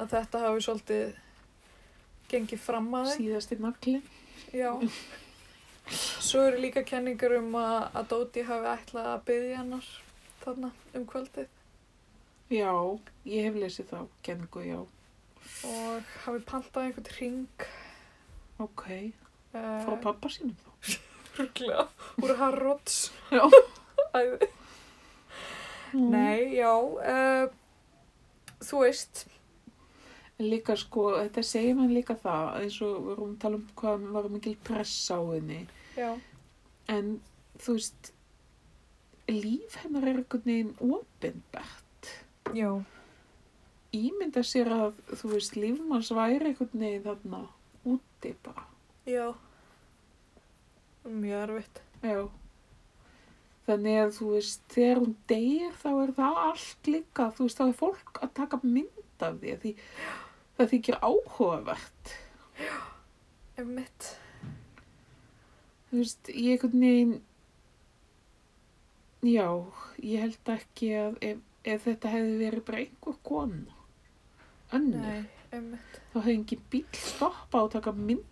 A: að þetta hafi svolítið gengið fram að þeim
B: Síðasti nafli.
A: já svo eru líka kenningar um að, að Dóti hafi ætlað að byggja hennar þarna um kvöldið
B: Já, ég hef lesið þá kenningu, já.
A: og hafi pantað einhvern ring
B: Ok,
A: eh,
B: frá pappa sínum þá.
A: Rugglega, úr Harrods
B: Já.
A: Æði Nei, já, uh, þú veist,
B: En Líka sko, þetta segir mann líka það, eins og við vorum að tala um hvað var mikil pressa á henni.
A: já,
B: En þú veist, líf hennar er einhvern veginn opinbært.
A: já,
B: Ímynda sér að, þú veist, lífmanns væri einhvern veginn þarna úti bara.
A: já, mjög erfitt,
B: Já. Þannig að þú veist, þegar hún deyr þá er það allt líka, þú veist, þá er fólk að taka mynd af því, því það þykir áhugavert.
A: ef mitt,
B: Þú veist, ég einhvern veginn, já, ég held ekki að ef, ef þetta hefði verið bara einhver kona, önnur,
A: nei, ef mitt,
B: þá hefði engin bíl stoppa og taka mynd.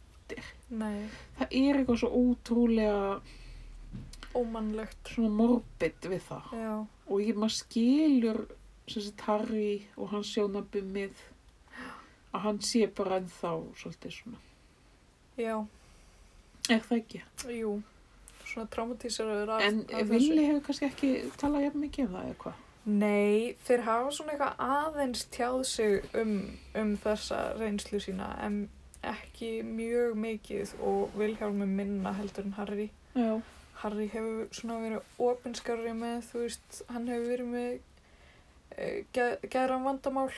A: nei,
B: Það er eitthvað svo ótrúlega
A: ómannlegt,
B: svona morbid við það.
A: já,
B: og ég maður skilur sem sagt Harry og hans sjónabbi með að hann sé bara ennþá svolítið svona
A: já,
B: er það ekki
A: jú, svona traumatíseraður af,
B: en
A: af
B: Vili hefur kannski ekki talað jafn mikið um það eða hvað
A: Nei, þeir hafa svona eitthvað aðeins tjáð sig um, um þessa reynslu sína, en ekki mjög mikið og Vilhjálmi minna heldur en Harry.
B: já,
A: Harry hefur svona verið opinskarri með, þú veist, hann hefur verið með uh, ge geðran vandamál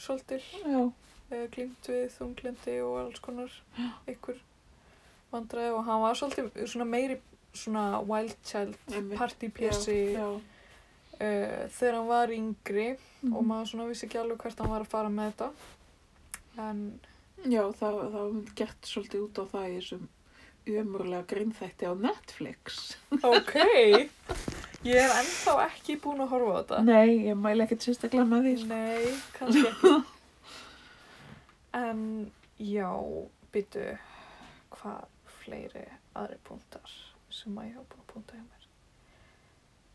A: svolítil,
B: já,
A: uh, glýmt við þunglindi og alls konar ykkur vandræði og hann var svolítið svona meiri svona wild child
B: Einmitt.
A: party pjessi
B: já,
A: uh, þegar hann var yngri og
B: Mhm.
A: maður svona vissi ekki alveg hvert hann var að fara með þetta en
B: já það, það var mynd gert svolítið út á það í þessum umurlega grinnþætti á Netflix
A: ok ég er ennþá ekki búin að horfa á þetta
B: nei, ég mæla ekkert sérstaklega með því sko.
A: Nei, kannski ekki. En já, byttu, hvað, fleiri aðri punktar sem að ég hafa búin að punta hjá mér.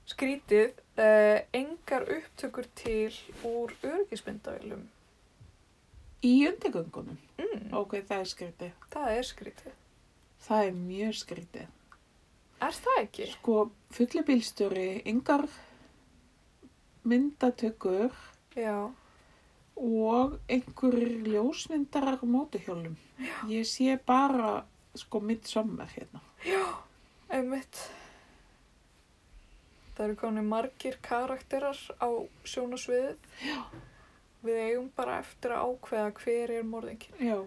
A: Skrítið, uh, engar upptökur til úr öryggismyndavélum.
B: Í undirgöngunum?
A: Mm,
B: Ok, það er skrítið.
A: það er skrítið.
B: Það er mjög skrítið.
A: Er það ekki?
B: Sko, fullibílstjóri, yngar myndatökur
A: Já,
B: og einhverjir ljósmyndarar á mótuhjólum. Ég sé bara, sko, mitt sömmar hérna.
A: einmitt. Það eru komin margir karakterar á sjónasviðið. Já. Við eigum bara eftir að ákveða hver er morðingin.
B: Já.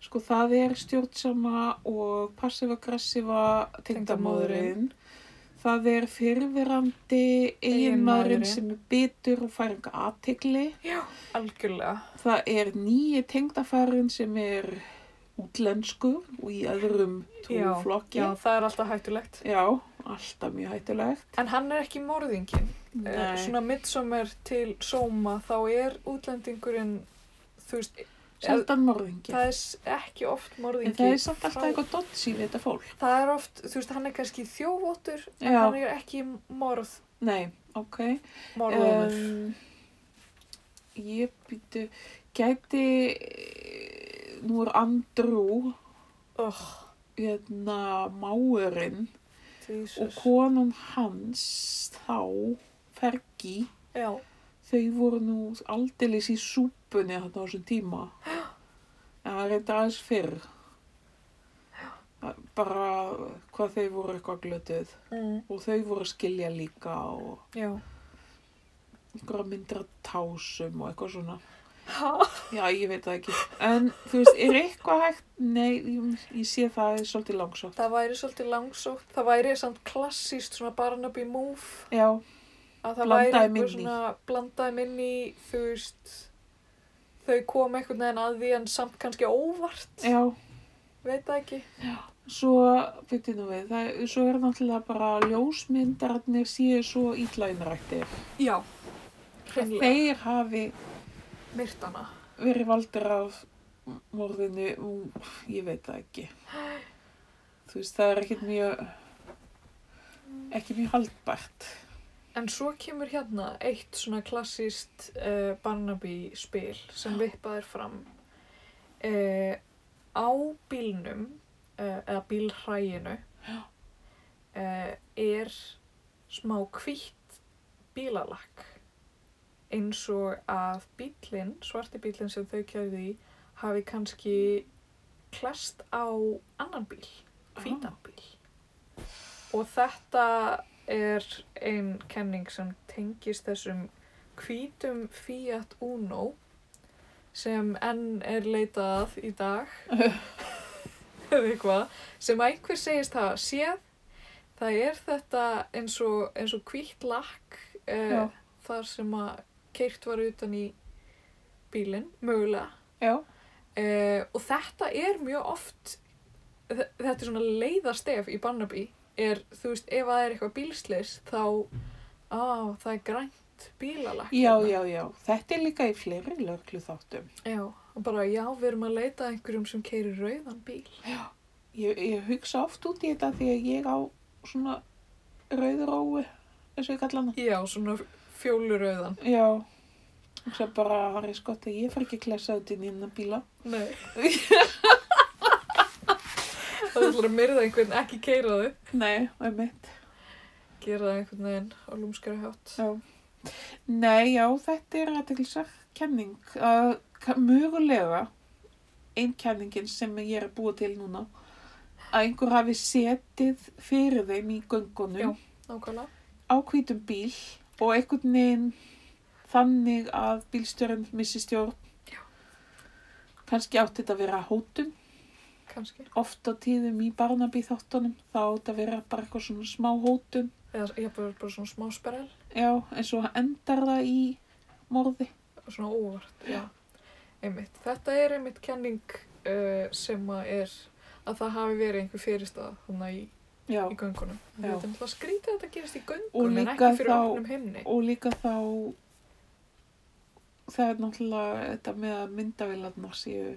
B: Sko, það er stjórnsama og passiv-aggressiva tengdamóðurinn. Það er fyrirverandi
A: Eiginmaðurinn.
B: eiginmaðurinn sem er bitur og fær enga aðtegli.
A: Algjörlega.
B: Það er nýji tengdafarinn sem er útlenskur og í öðrum trúflokki.
A: Já, það er alltaf hættulegt.
B: Já, alltaf mjög hættulegt.
A: En hann er ekki morðingin. Uh, svona midsommar til sóma þá er útlendingurinn, þú veist,
B: Sjaldan morðingi.
A: það er s- ekki oft morðingi.
B: En það er samt alltaf
A: frá-
B: eitthvað dotts í við þetta fólk.
A: Það er oft, þú veist, hann er kannski þjófóttur, en
B: Já.
A: hann er ekki morð,
B: Nei, ok.
A: morðómur.
B: Um, ég býtu, gæti, eh, nú er Andrú,
A: Ögh,
B: hérna, máurinn og
A: Jesus.
B: konan hans þá, Fergi,
A: Já,
B: þau voru nú aldeilis í súpunni þarna á þessum tíma. En það reyndi aðeins fyrr. Bara hvað þau voru eitthvað glötuð.
A: mm,
B: Og þau voru að skilja líka og
A: já.
B: einhverja myndir að tásum og eitthvað svona.
A: Ha?
B: Já, ég veit það ekki. En þú veist, er eitthvað hægt? Nei, ég, ég sé það er svolítið langsótt.
A: Það væri svolítið langsótt, það væri samt klassíst svona Barnaby move.
B: Já,
A: að það
B: Blandaði
A: væri einhver
B: minni.
A: svona blandaði minni, þú veist þau kom einhvern veginn að því en samt kannski óvart
B: já.
A: veit það ekki
B: Svo, veitir nú við, það, svo er náttúrulega bara ljósmyndarnir séu svo ítla innrættir.
A: já,
B: Að
A: hreinlega,
B: Þeir hafi
A: myrtana
B: verið valdir af morðinu, ú, ég veit það ekki. Þú veist, það er ekkert mjög, ekki mjög haldbært.
A: en svo kemur hérna eitt svona klassíst uh, Barnaby spil sem vippað er fram uh, á bílnum uh, eða bílhræinu uh, er smá hvítt bílalakk eins og að bílinn, svarti bílinn sem þau kjæði í hafi kannski klest á annan bíl, hvítan bíl og þetta er ein kenning sem tengist þessum hvítum Fiat Uno sem enn er leitað að í dag eða eitthvað sem að einhver segist hafa séð það er þetta eins og, eins og hvít lakk
B: Já.
A: uh, þar sem að keirt var utan í bílinn, mögulega
B: Já,
A: uh, og þetta er mjög oft þ- þetta er svona leiðastef í Barnaby er, þú veist, ef það er eitthvað bílslis þá, á, það er grænt bílalakk
B: já,
A: hérna.
B: já, já. Þetta er líka í fleiri löglu þáttum.
A: já, og bara, já, við erum að leita að einhverjum sem keirir rauðan bíl
B: Ég, ég hugsa oft út í þetta því að ég á svona rauðrói, eins og ég kalla hana.
A: já, svona fjólurauðan
B: Já, hugsa bara að Harry Scott að ég fer ekki að klessa út í nýna bíla.
A: nei það ætlar að myrða einhvern, ekki keira þau
B: Nei, um mitt.
A: gera það einhvern veginn á lúmskari hátt
B: Já. Nei, já, þetta er aðeinsar kenning. Uh, mögulega einn kenningin sem ég er að búa til núna að einhver hafi setið fyrir þeim í göngunum
A: Já. nákvæmlega
B: á hvítum bíl og einhvern veginn þannig að bílstjórn missi stjórn. Kanski átti þetta að vera hótun,
A: kannski,
B: oft á tíðum í Barnaby þáttunum, þá átti þetta að vera bara eitthvað svona smá hótun.
A: eða ég hef bara, bara svona smá sperrel
B: Já, en svo endar það í morði.
A: svona óvart, já. Einmitt. Þetta er einmitt kenning uh, sem að er að það hafi verið einhver fyrirstað þannig í,
B: Já,
A: í göngunum.
B: Já.
A: Þetta er náttúrulega skrítið að þetta gerist í
B: Og
A: göngunum en
B: líka
A: ekki fyrir
B: þá-
A: opnum himni.
B: og líka þá, það er náttúrulega þetta með að myndavélarnar séu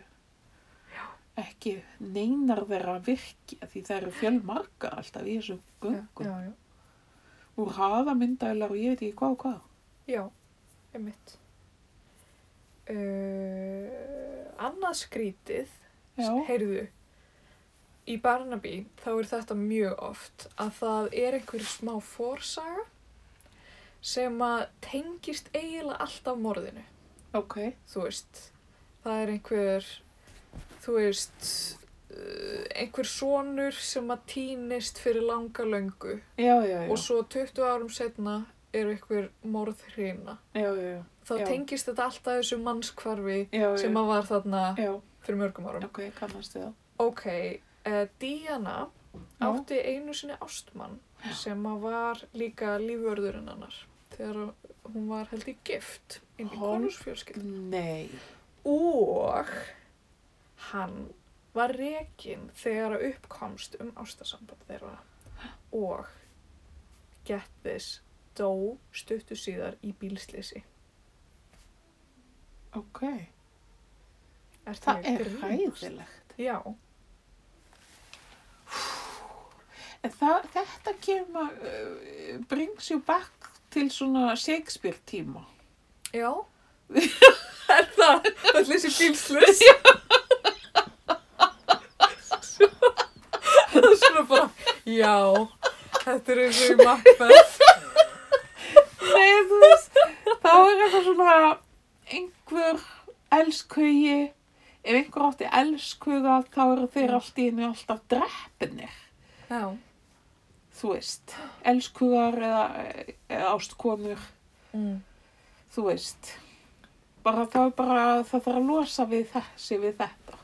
B: Já. ekki neinar þeirra virki af því það eru fjölmargar alltaf í þessum göngum.
A: já, já.
B: Úr hafa myndaðilar og ég veit ekki hvað og hvað.
A: Já, einmitt. Uh, annað skrítið,
B: Já,
A: heyrðu, í Barnaby þá er þetta mjög oft að það er einhver smá fórsaga sem að tengist eiginlega alltaf morðinu,
B: ok.
A: þú veist. Það er einhver, þú veist, uh, einhver sonur sem að týnist fyrir langa löngu
B: Já, já, já.
A: og svo 20 árum setna er einhver morðhrina
B: Já, já, já.
A: þá
B: Já.
A: tengist þetta alltaf þessu mannskvarfi
B: Já, já.
A: sem að var þarna
B: Já,
A: fyrir mörgum árum.
B: ok, kannast þið það.
A: Ok, uh, Diana
B: Já.
A: átti einu sinni ástmann sem að var líka lífvörðurinn hennar þegar hún var held í gift inn í
B: Hol-
A: konusfjölskyld.
B: Nei.
A: Og hann var rekin þegar að uppkomst um ástasamband þeirra og get this, dó stuttu síðar í bílslisi.
B: Ok.
A: Er
B: Það
A: ég
B: er
A: grínast?
B: hræðilegt.
A: Já.
B: En Það, þetta kemur, uh, brings you back til svona Shakespeare tíma.
A: Já. er það? Allir þessi bílslus? það er svona bara, já, þetta er eins og í Macbeth.
B: Nei, þú veist, þá er eitthvað svona einhver elskugi, ef einhver átti elskuga þá eru þeir allt í henni alltaf dreppinir,
A: Já,
B: þú veist, elskugar eða, eða ástkonur,
A: mm.
B: þú veist. Bara þá er bara, það þarf að losa við þessi við þetta.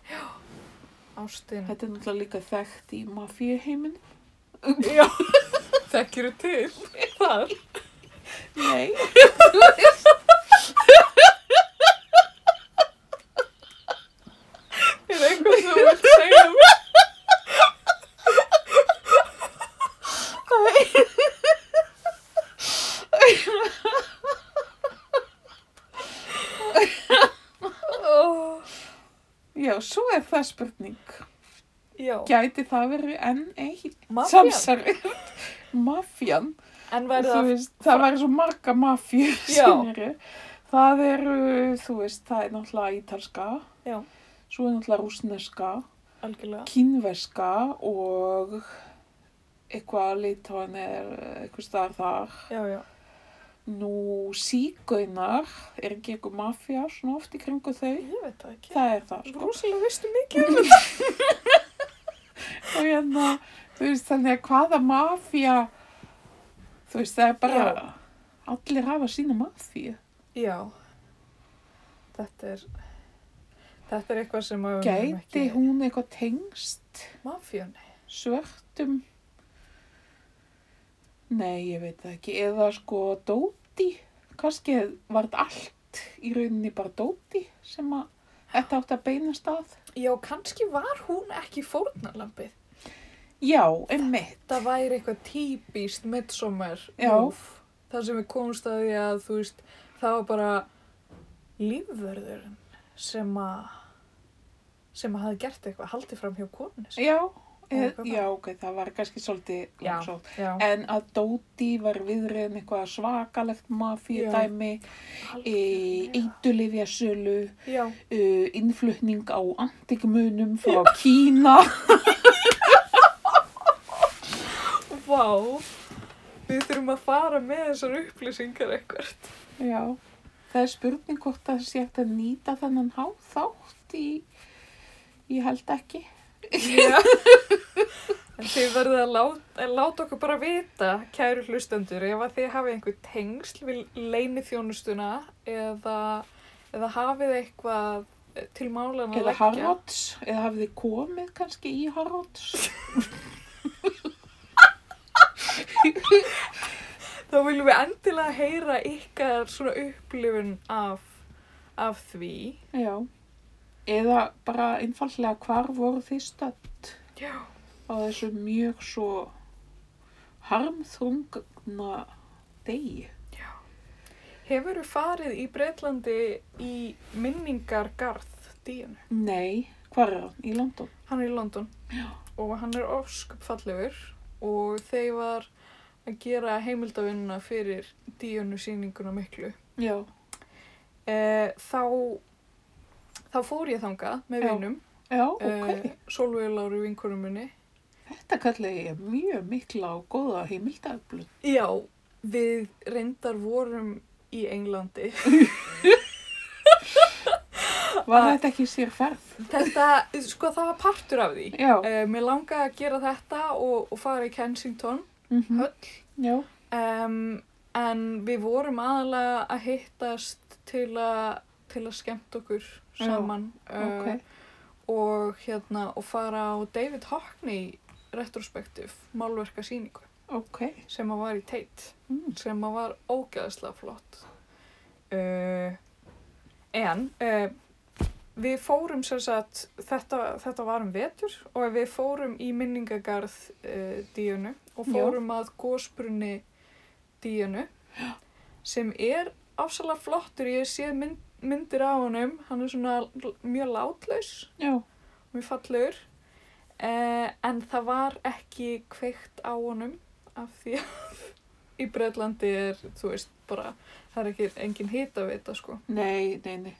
A: ástin.
B: Þetta er náttúrulega líka þekkt í mafíuheiminn.
A: Já, þekkir þú til þar.
B: Nei.
A: Er eitthvað sem þú vilt segja um? Oh,
B: Já, svo er það spurning.
A: já.
B: Gæti það verið enn einn
A: Mafían?
B: samsarið? Mafían.
A: En
B: Þú
A: verða
B: Veist, það væri svo marga mafjur sem
A: Já.
B: eru. Það eru, þú veist, það er náttúrulega ítalska,
A: Já,
B: svo er náttúrulega rúsneska,
A: algjörlega.
B: kínverska og eitthvað litóan er eitthvað staðar þar.
A: Já, já.
B: Nú, sígaunar, er ekki eitthvað mafja svona oft í kringu þau?
A: Ég veit það ekki.
B: Það er það, sko.
A: Rúsilega veistu mikið. um
B: og hérna, þú veist, þannig að hvaða mafía, þú veist, það er bara, allir hafa sína mafíu.
A: Já. Þetta er, þetta er eitthvað sem að við munum
B: Gæti hún eitthvað tengst
A: Mafíunni.
B: svörtum, nei, ég veit það ekki, eða sko dóti, kannski var þetta allt í rauninni bara dóti sem að þetta átti að beinast að.
A: Já, kannski var hún ekki fórnarlampið.
B: Já, einmitt.
A: Það væri eitthvað típist midsommar
B: Já.
A: move. Það sem við komumst að því að, þú veist, það var bara lífverðurinn sem að sem að hafi gert eitthvað, haldið fram hjá konunni. sinni.
B: Já, eð,
A: Eitthvað
B: já, ok, það var kannski svolítið
A: Já.
B: langsótt.
A: Já,
B: En að Dóti var viðriðin eitthvað svakalegt mafíudæmi,
A: algjörlega.
B: eitulifja sölu,
A: Já,
B: uh, innflutning á antikmunum frá Kína.
A: vá, við þurfum að fara með þessar upplýsingar eitthvað.
B: Já, það er spurning hvort það sé hægt að nýta þennan háþátt í, ég held ekki.
A: Já. En þið verðið að láta, að láta okkur bara vita, kæru hlustendur, ef að þið hafið einhver tengsl við leyniþjónustuna eða, eða hafið eitthvað til málan að
B: Eða Harrods, eða hafið þið komið kannski í Harrods.
A: Þá viljum við endilega heyra ykkar svona upplifun af, af því.
B: Já, eða bara einfallega hvar voru þið stödd?
A: Já.
B: á þessu mjög svo harmþrungna degi.
A: Hefur þú farið í Breitlandi í minningargarð díunu?
B: Nei, Hvar er hann? Í London?
A: Hann er í London og hann er ofskup fallegur og þeir var að gera heimildavinnuna fyrir díunu sýninguna miklu.
B: Já.
A: E, þá, þá fór ég þangað með
B: Já,
A: vinnum,
B: Já, ok.
A: e, Solveig Láru vinkurum minni.
B: Þetta kallaði ég mjög mikla og góða heimildaöflun.
A: Já, við reyndar vorum í Englandi.
B: Var þetta ekki sér ferð?
A: Þetta, sko það var partur af því.
B: Já.
A: E, mér langaði að gera þetta og, og fara í Kensington
B: Mm
A: höll.
B: Já.
A: Um, en við vorum aðalega að hittast til að, til að skemmt okkur
B: Já,
A: saman
B: Ok.
A: uh, og, hérna, og fara á David Hockney retrospektiv málverka síningu
B: Ok.
A: sem að var í Tate
B: Mm.
A: sem að var ógeðslega flott uh, en uh, við fórum sem sagt þetta, þetta var um vetur og við fórum í minningagarð uh, díunu og
B: Já.
A: fórum að gósbrunni díunu sem er afsalega flottur ég sé mynd, myndir á honum hann er svona l- mjög látlaus
B: Já.
A: mjög fallegur eh, en það var ekki kveikt á honum af því að í Breitlandi er, þú veist, bara það er ekki engin hita við þetta sko
B: Nei, nei, nei.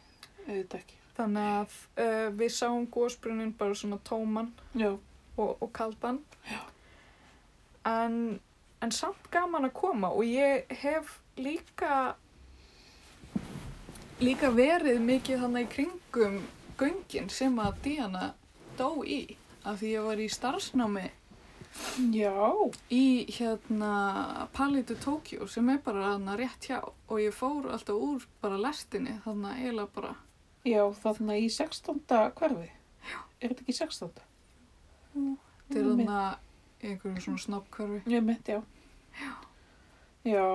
B: Auðvitað ekki.
A: þannig að eh, við sáum gósbrunin bara svona tóman
B: Já.
A: og, og kaldan en, en samt gaman að koma og ég hef líka líka verið mikið þannig í kringum göngin sem að Diana dó í af því ég var í starfsnámi
B: Já.
A: í hérna Palito Tokyo sem er bara þarna rétt hjá og ég fór alltaf úr bara lestinni þannig að eiginlega bara
B: Já, þarna í 16. hverfi. Já. Er þetta ekki 16.?
A: til
B: Einmitt.
A: þarna í einhverjum svona snobbkörfi
B: Ég myndi, já. Já. Já.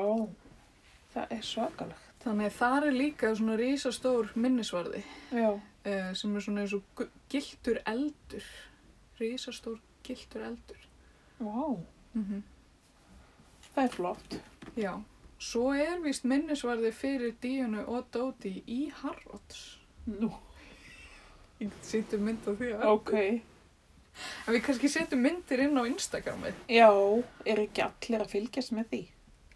B: Það er svakalegt.
A: þannig að þar er líka svona risastór minnisvarði
B: Já.
A: uh, sem er svona eins og gu- giltur eldur risastór giltur eldur
B: Vá.
A: mm
B: Mhm. Það er flott.
A: já, svo er vist minnisvarði fyrir Díunu og Dóti í Harrods
B: Nú.
A: ég sýttu mynd á því að
B: Ok.
A: en við kannski setjum myndir inn á Instagramið
B: Já, er ekki allir að fylgjast með því?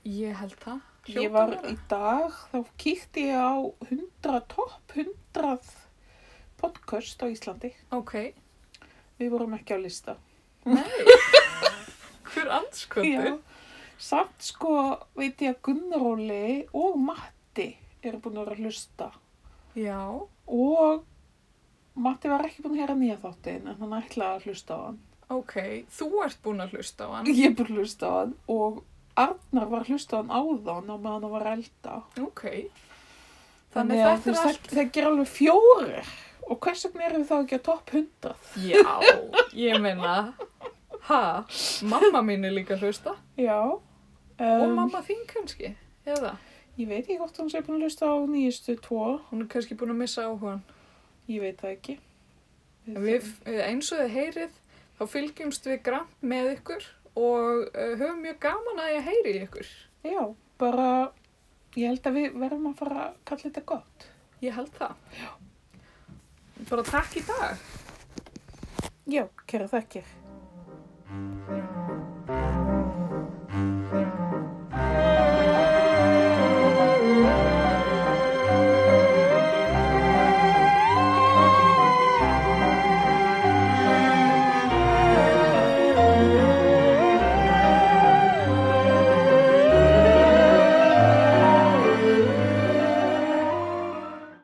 A: ég held það
B: ég var í dag, þá kíkti ég á 100 topp 100 podcast á Íslandi.
A: ok,
B: Við vorum ekki á lista.
A: hver anskotu
B: Samt sko veit ég að Gunnaróli og Matti eru búin að vera að hlusta.
A: já,
B: Og Matti var ekki búin að heyra nýja þáttin en hann ætlaði að hlusta á hann.
A: ok þú ert búin að hlusta á hann
B: Ég er búin að hlusta á hann og Arnar var að hlusta á hann áðan á meðan hann var að elda.
A: ok þannig,
B: að
A: þetta
B: þú
A: er
B: veist,
A: allt
B: það, það ger alveg fjórir. Og hvers vegna erum við þá ekki að topp 100?
A: já, ég meina ha, mamma mín er líka að hlusta
B: Já.
A: Og
B: Um,
A: mamma þín kannski, eða?
B: Ég veit ekki hvort hún sé búin að hlusta á nýjustu tvo.
A: Hún er kannski búin að missa áhugan.
B: Ég veit það ekki.
A: En Við, eh, eins og þið heyrið, þá fylgjumst við grann með ykkur og uh, höfum mjög gaman að ég heyri í ykkur.
B: Já, bara ég held að við verðum að fara að kalla þetta gott.
A: Ég held það. Já. Bara takk í dag.
B: Já, kæra þekkir.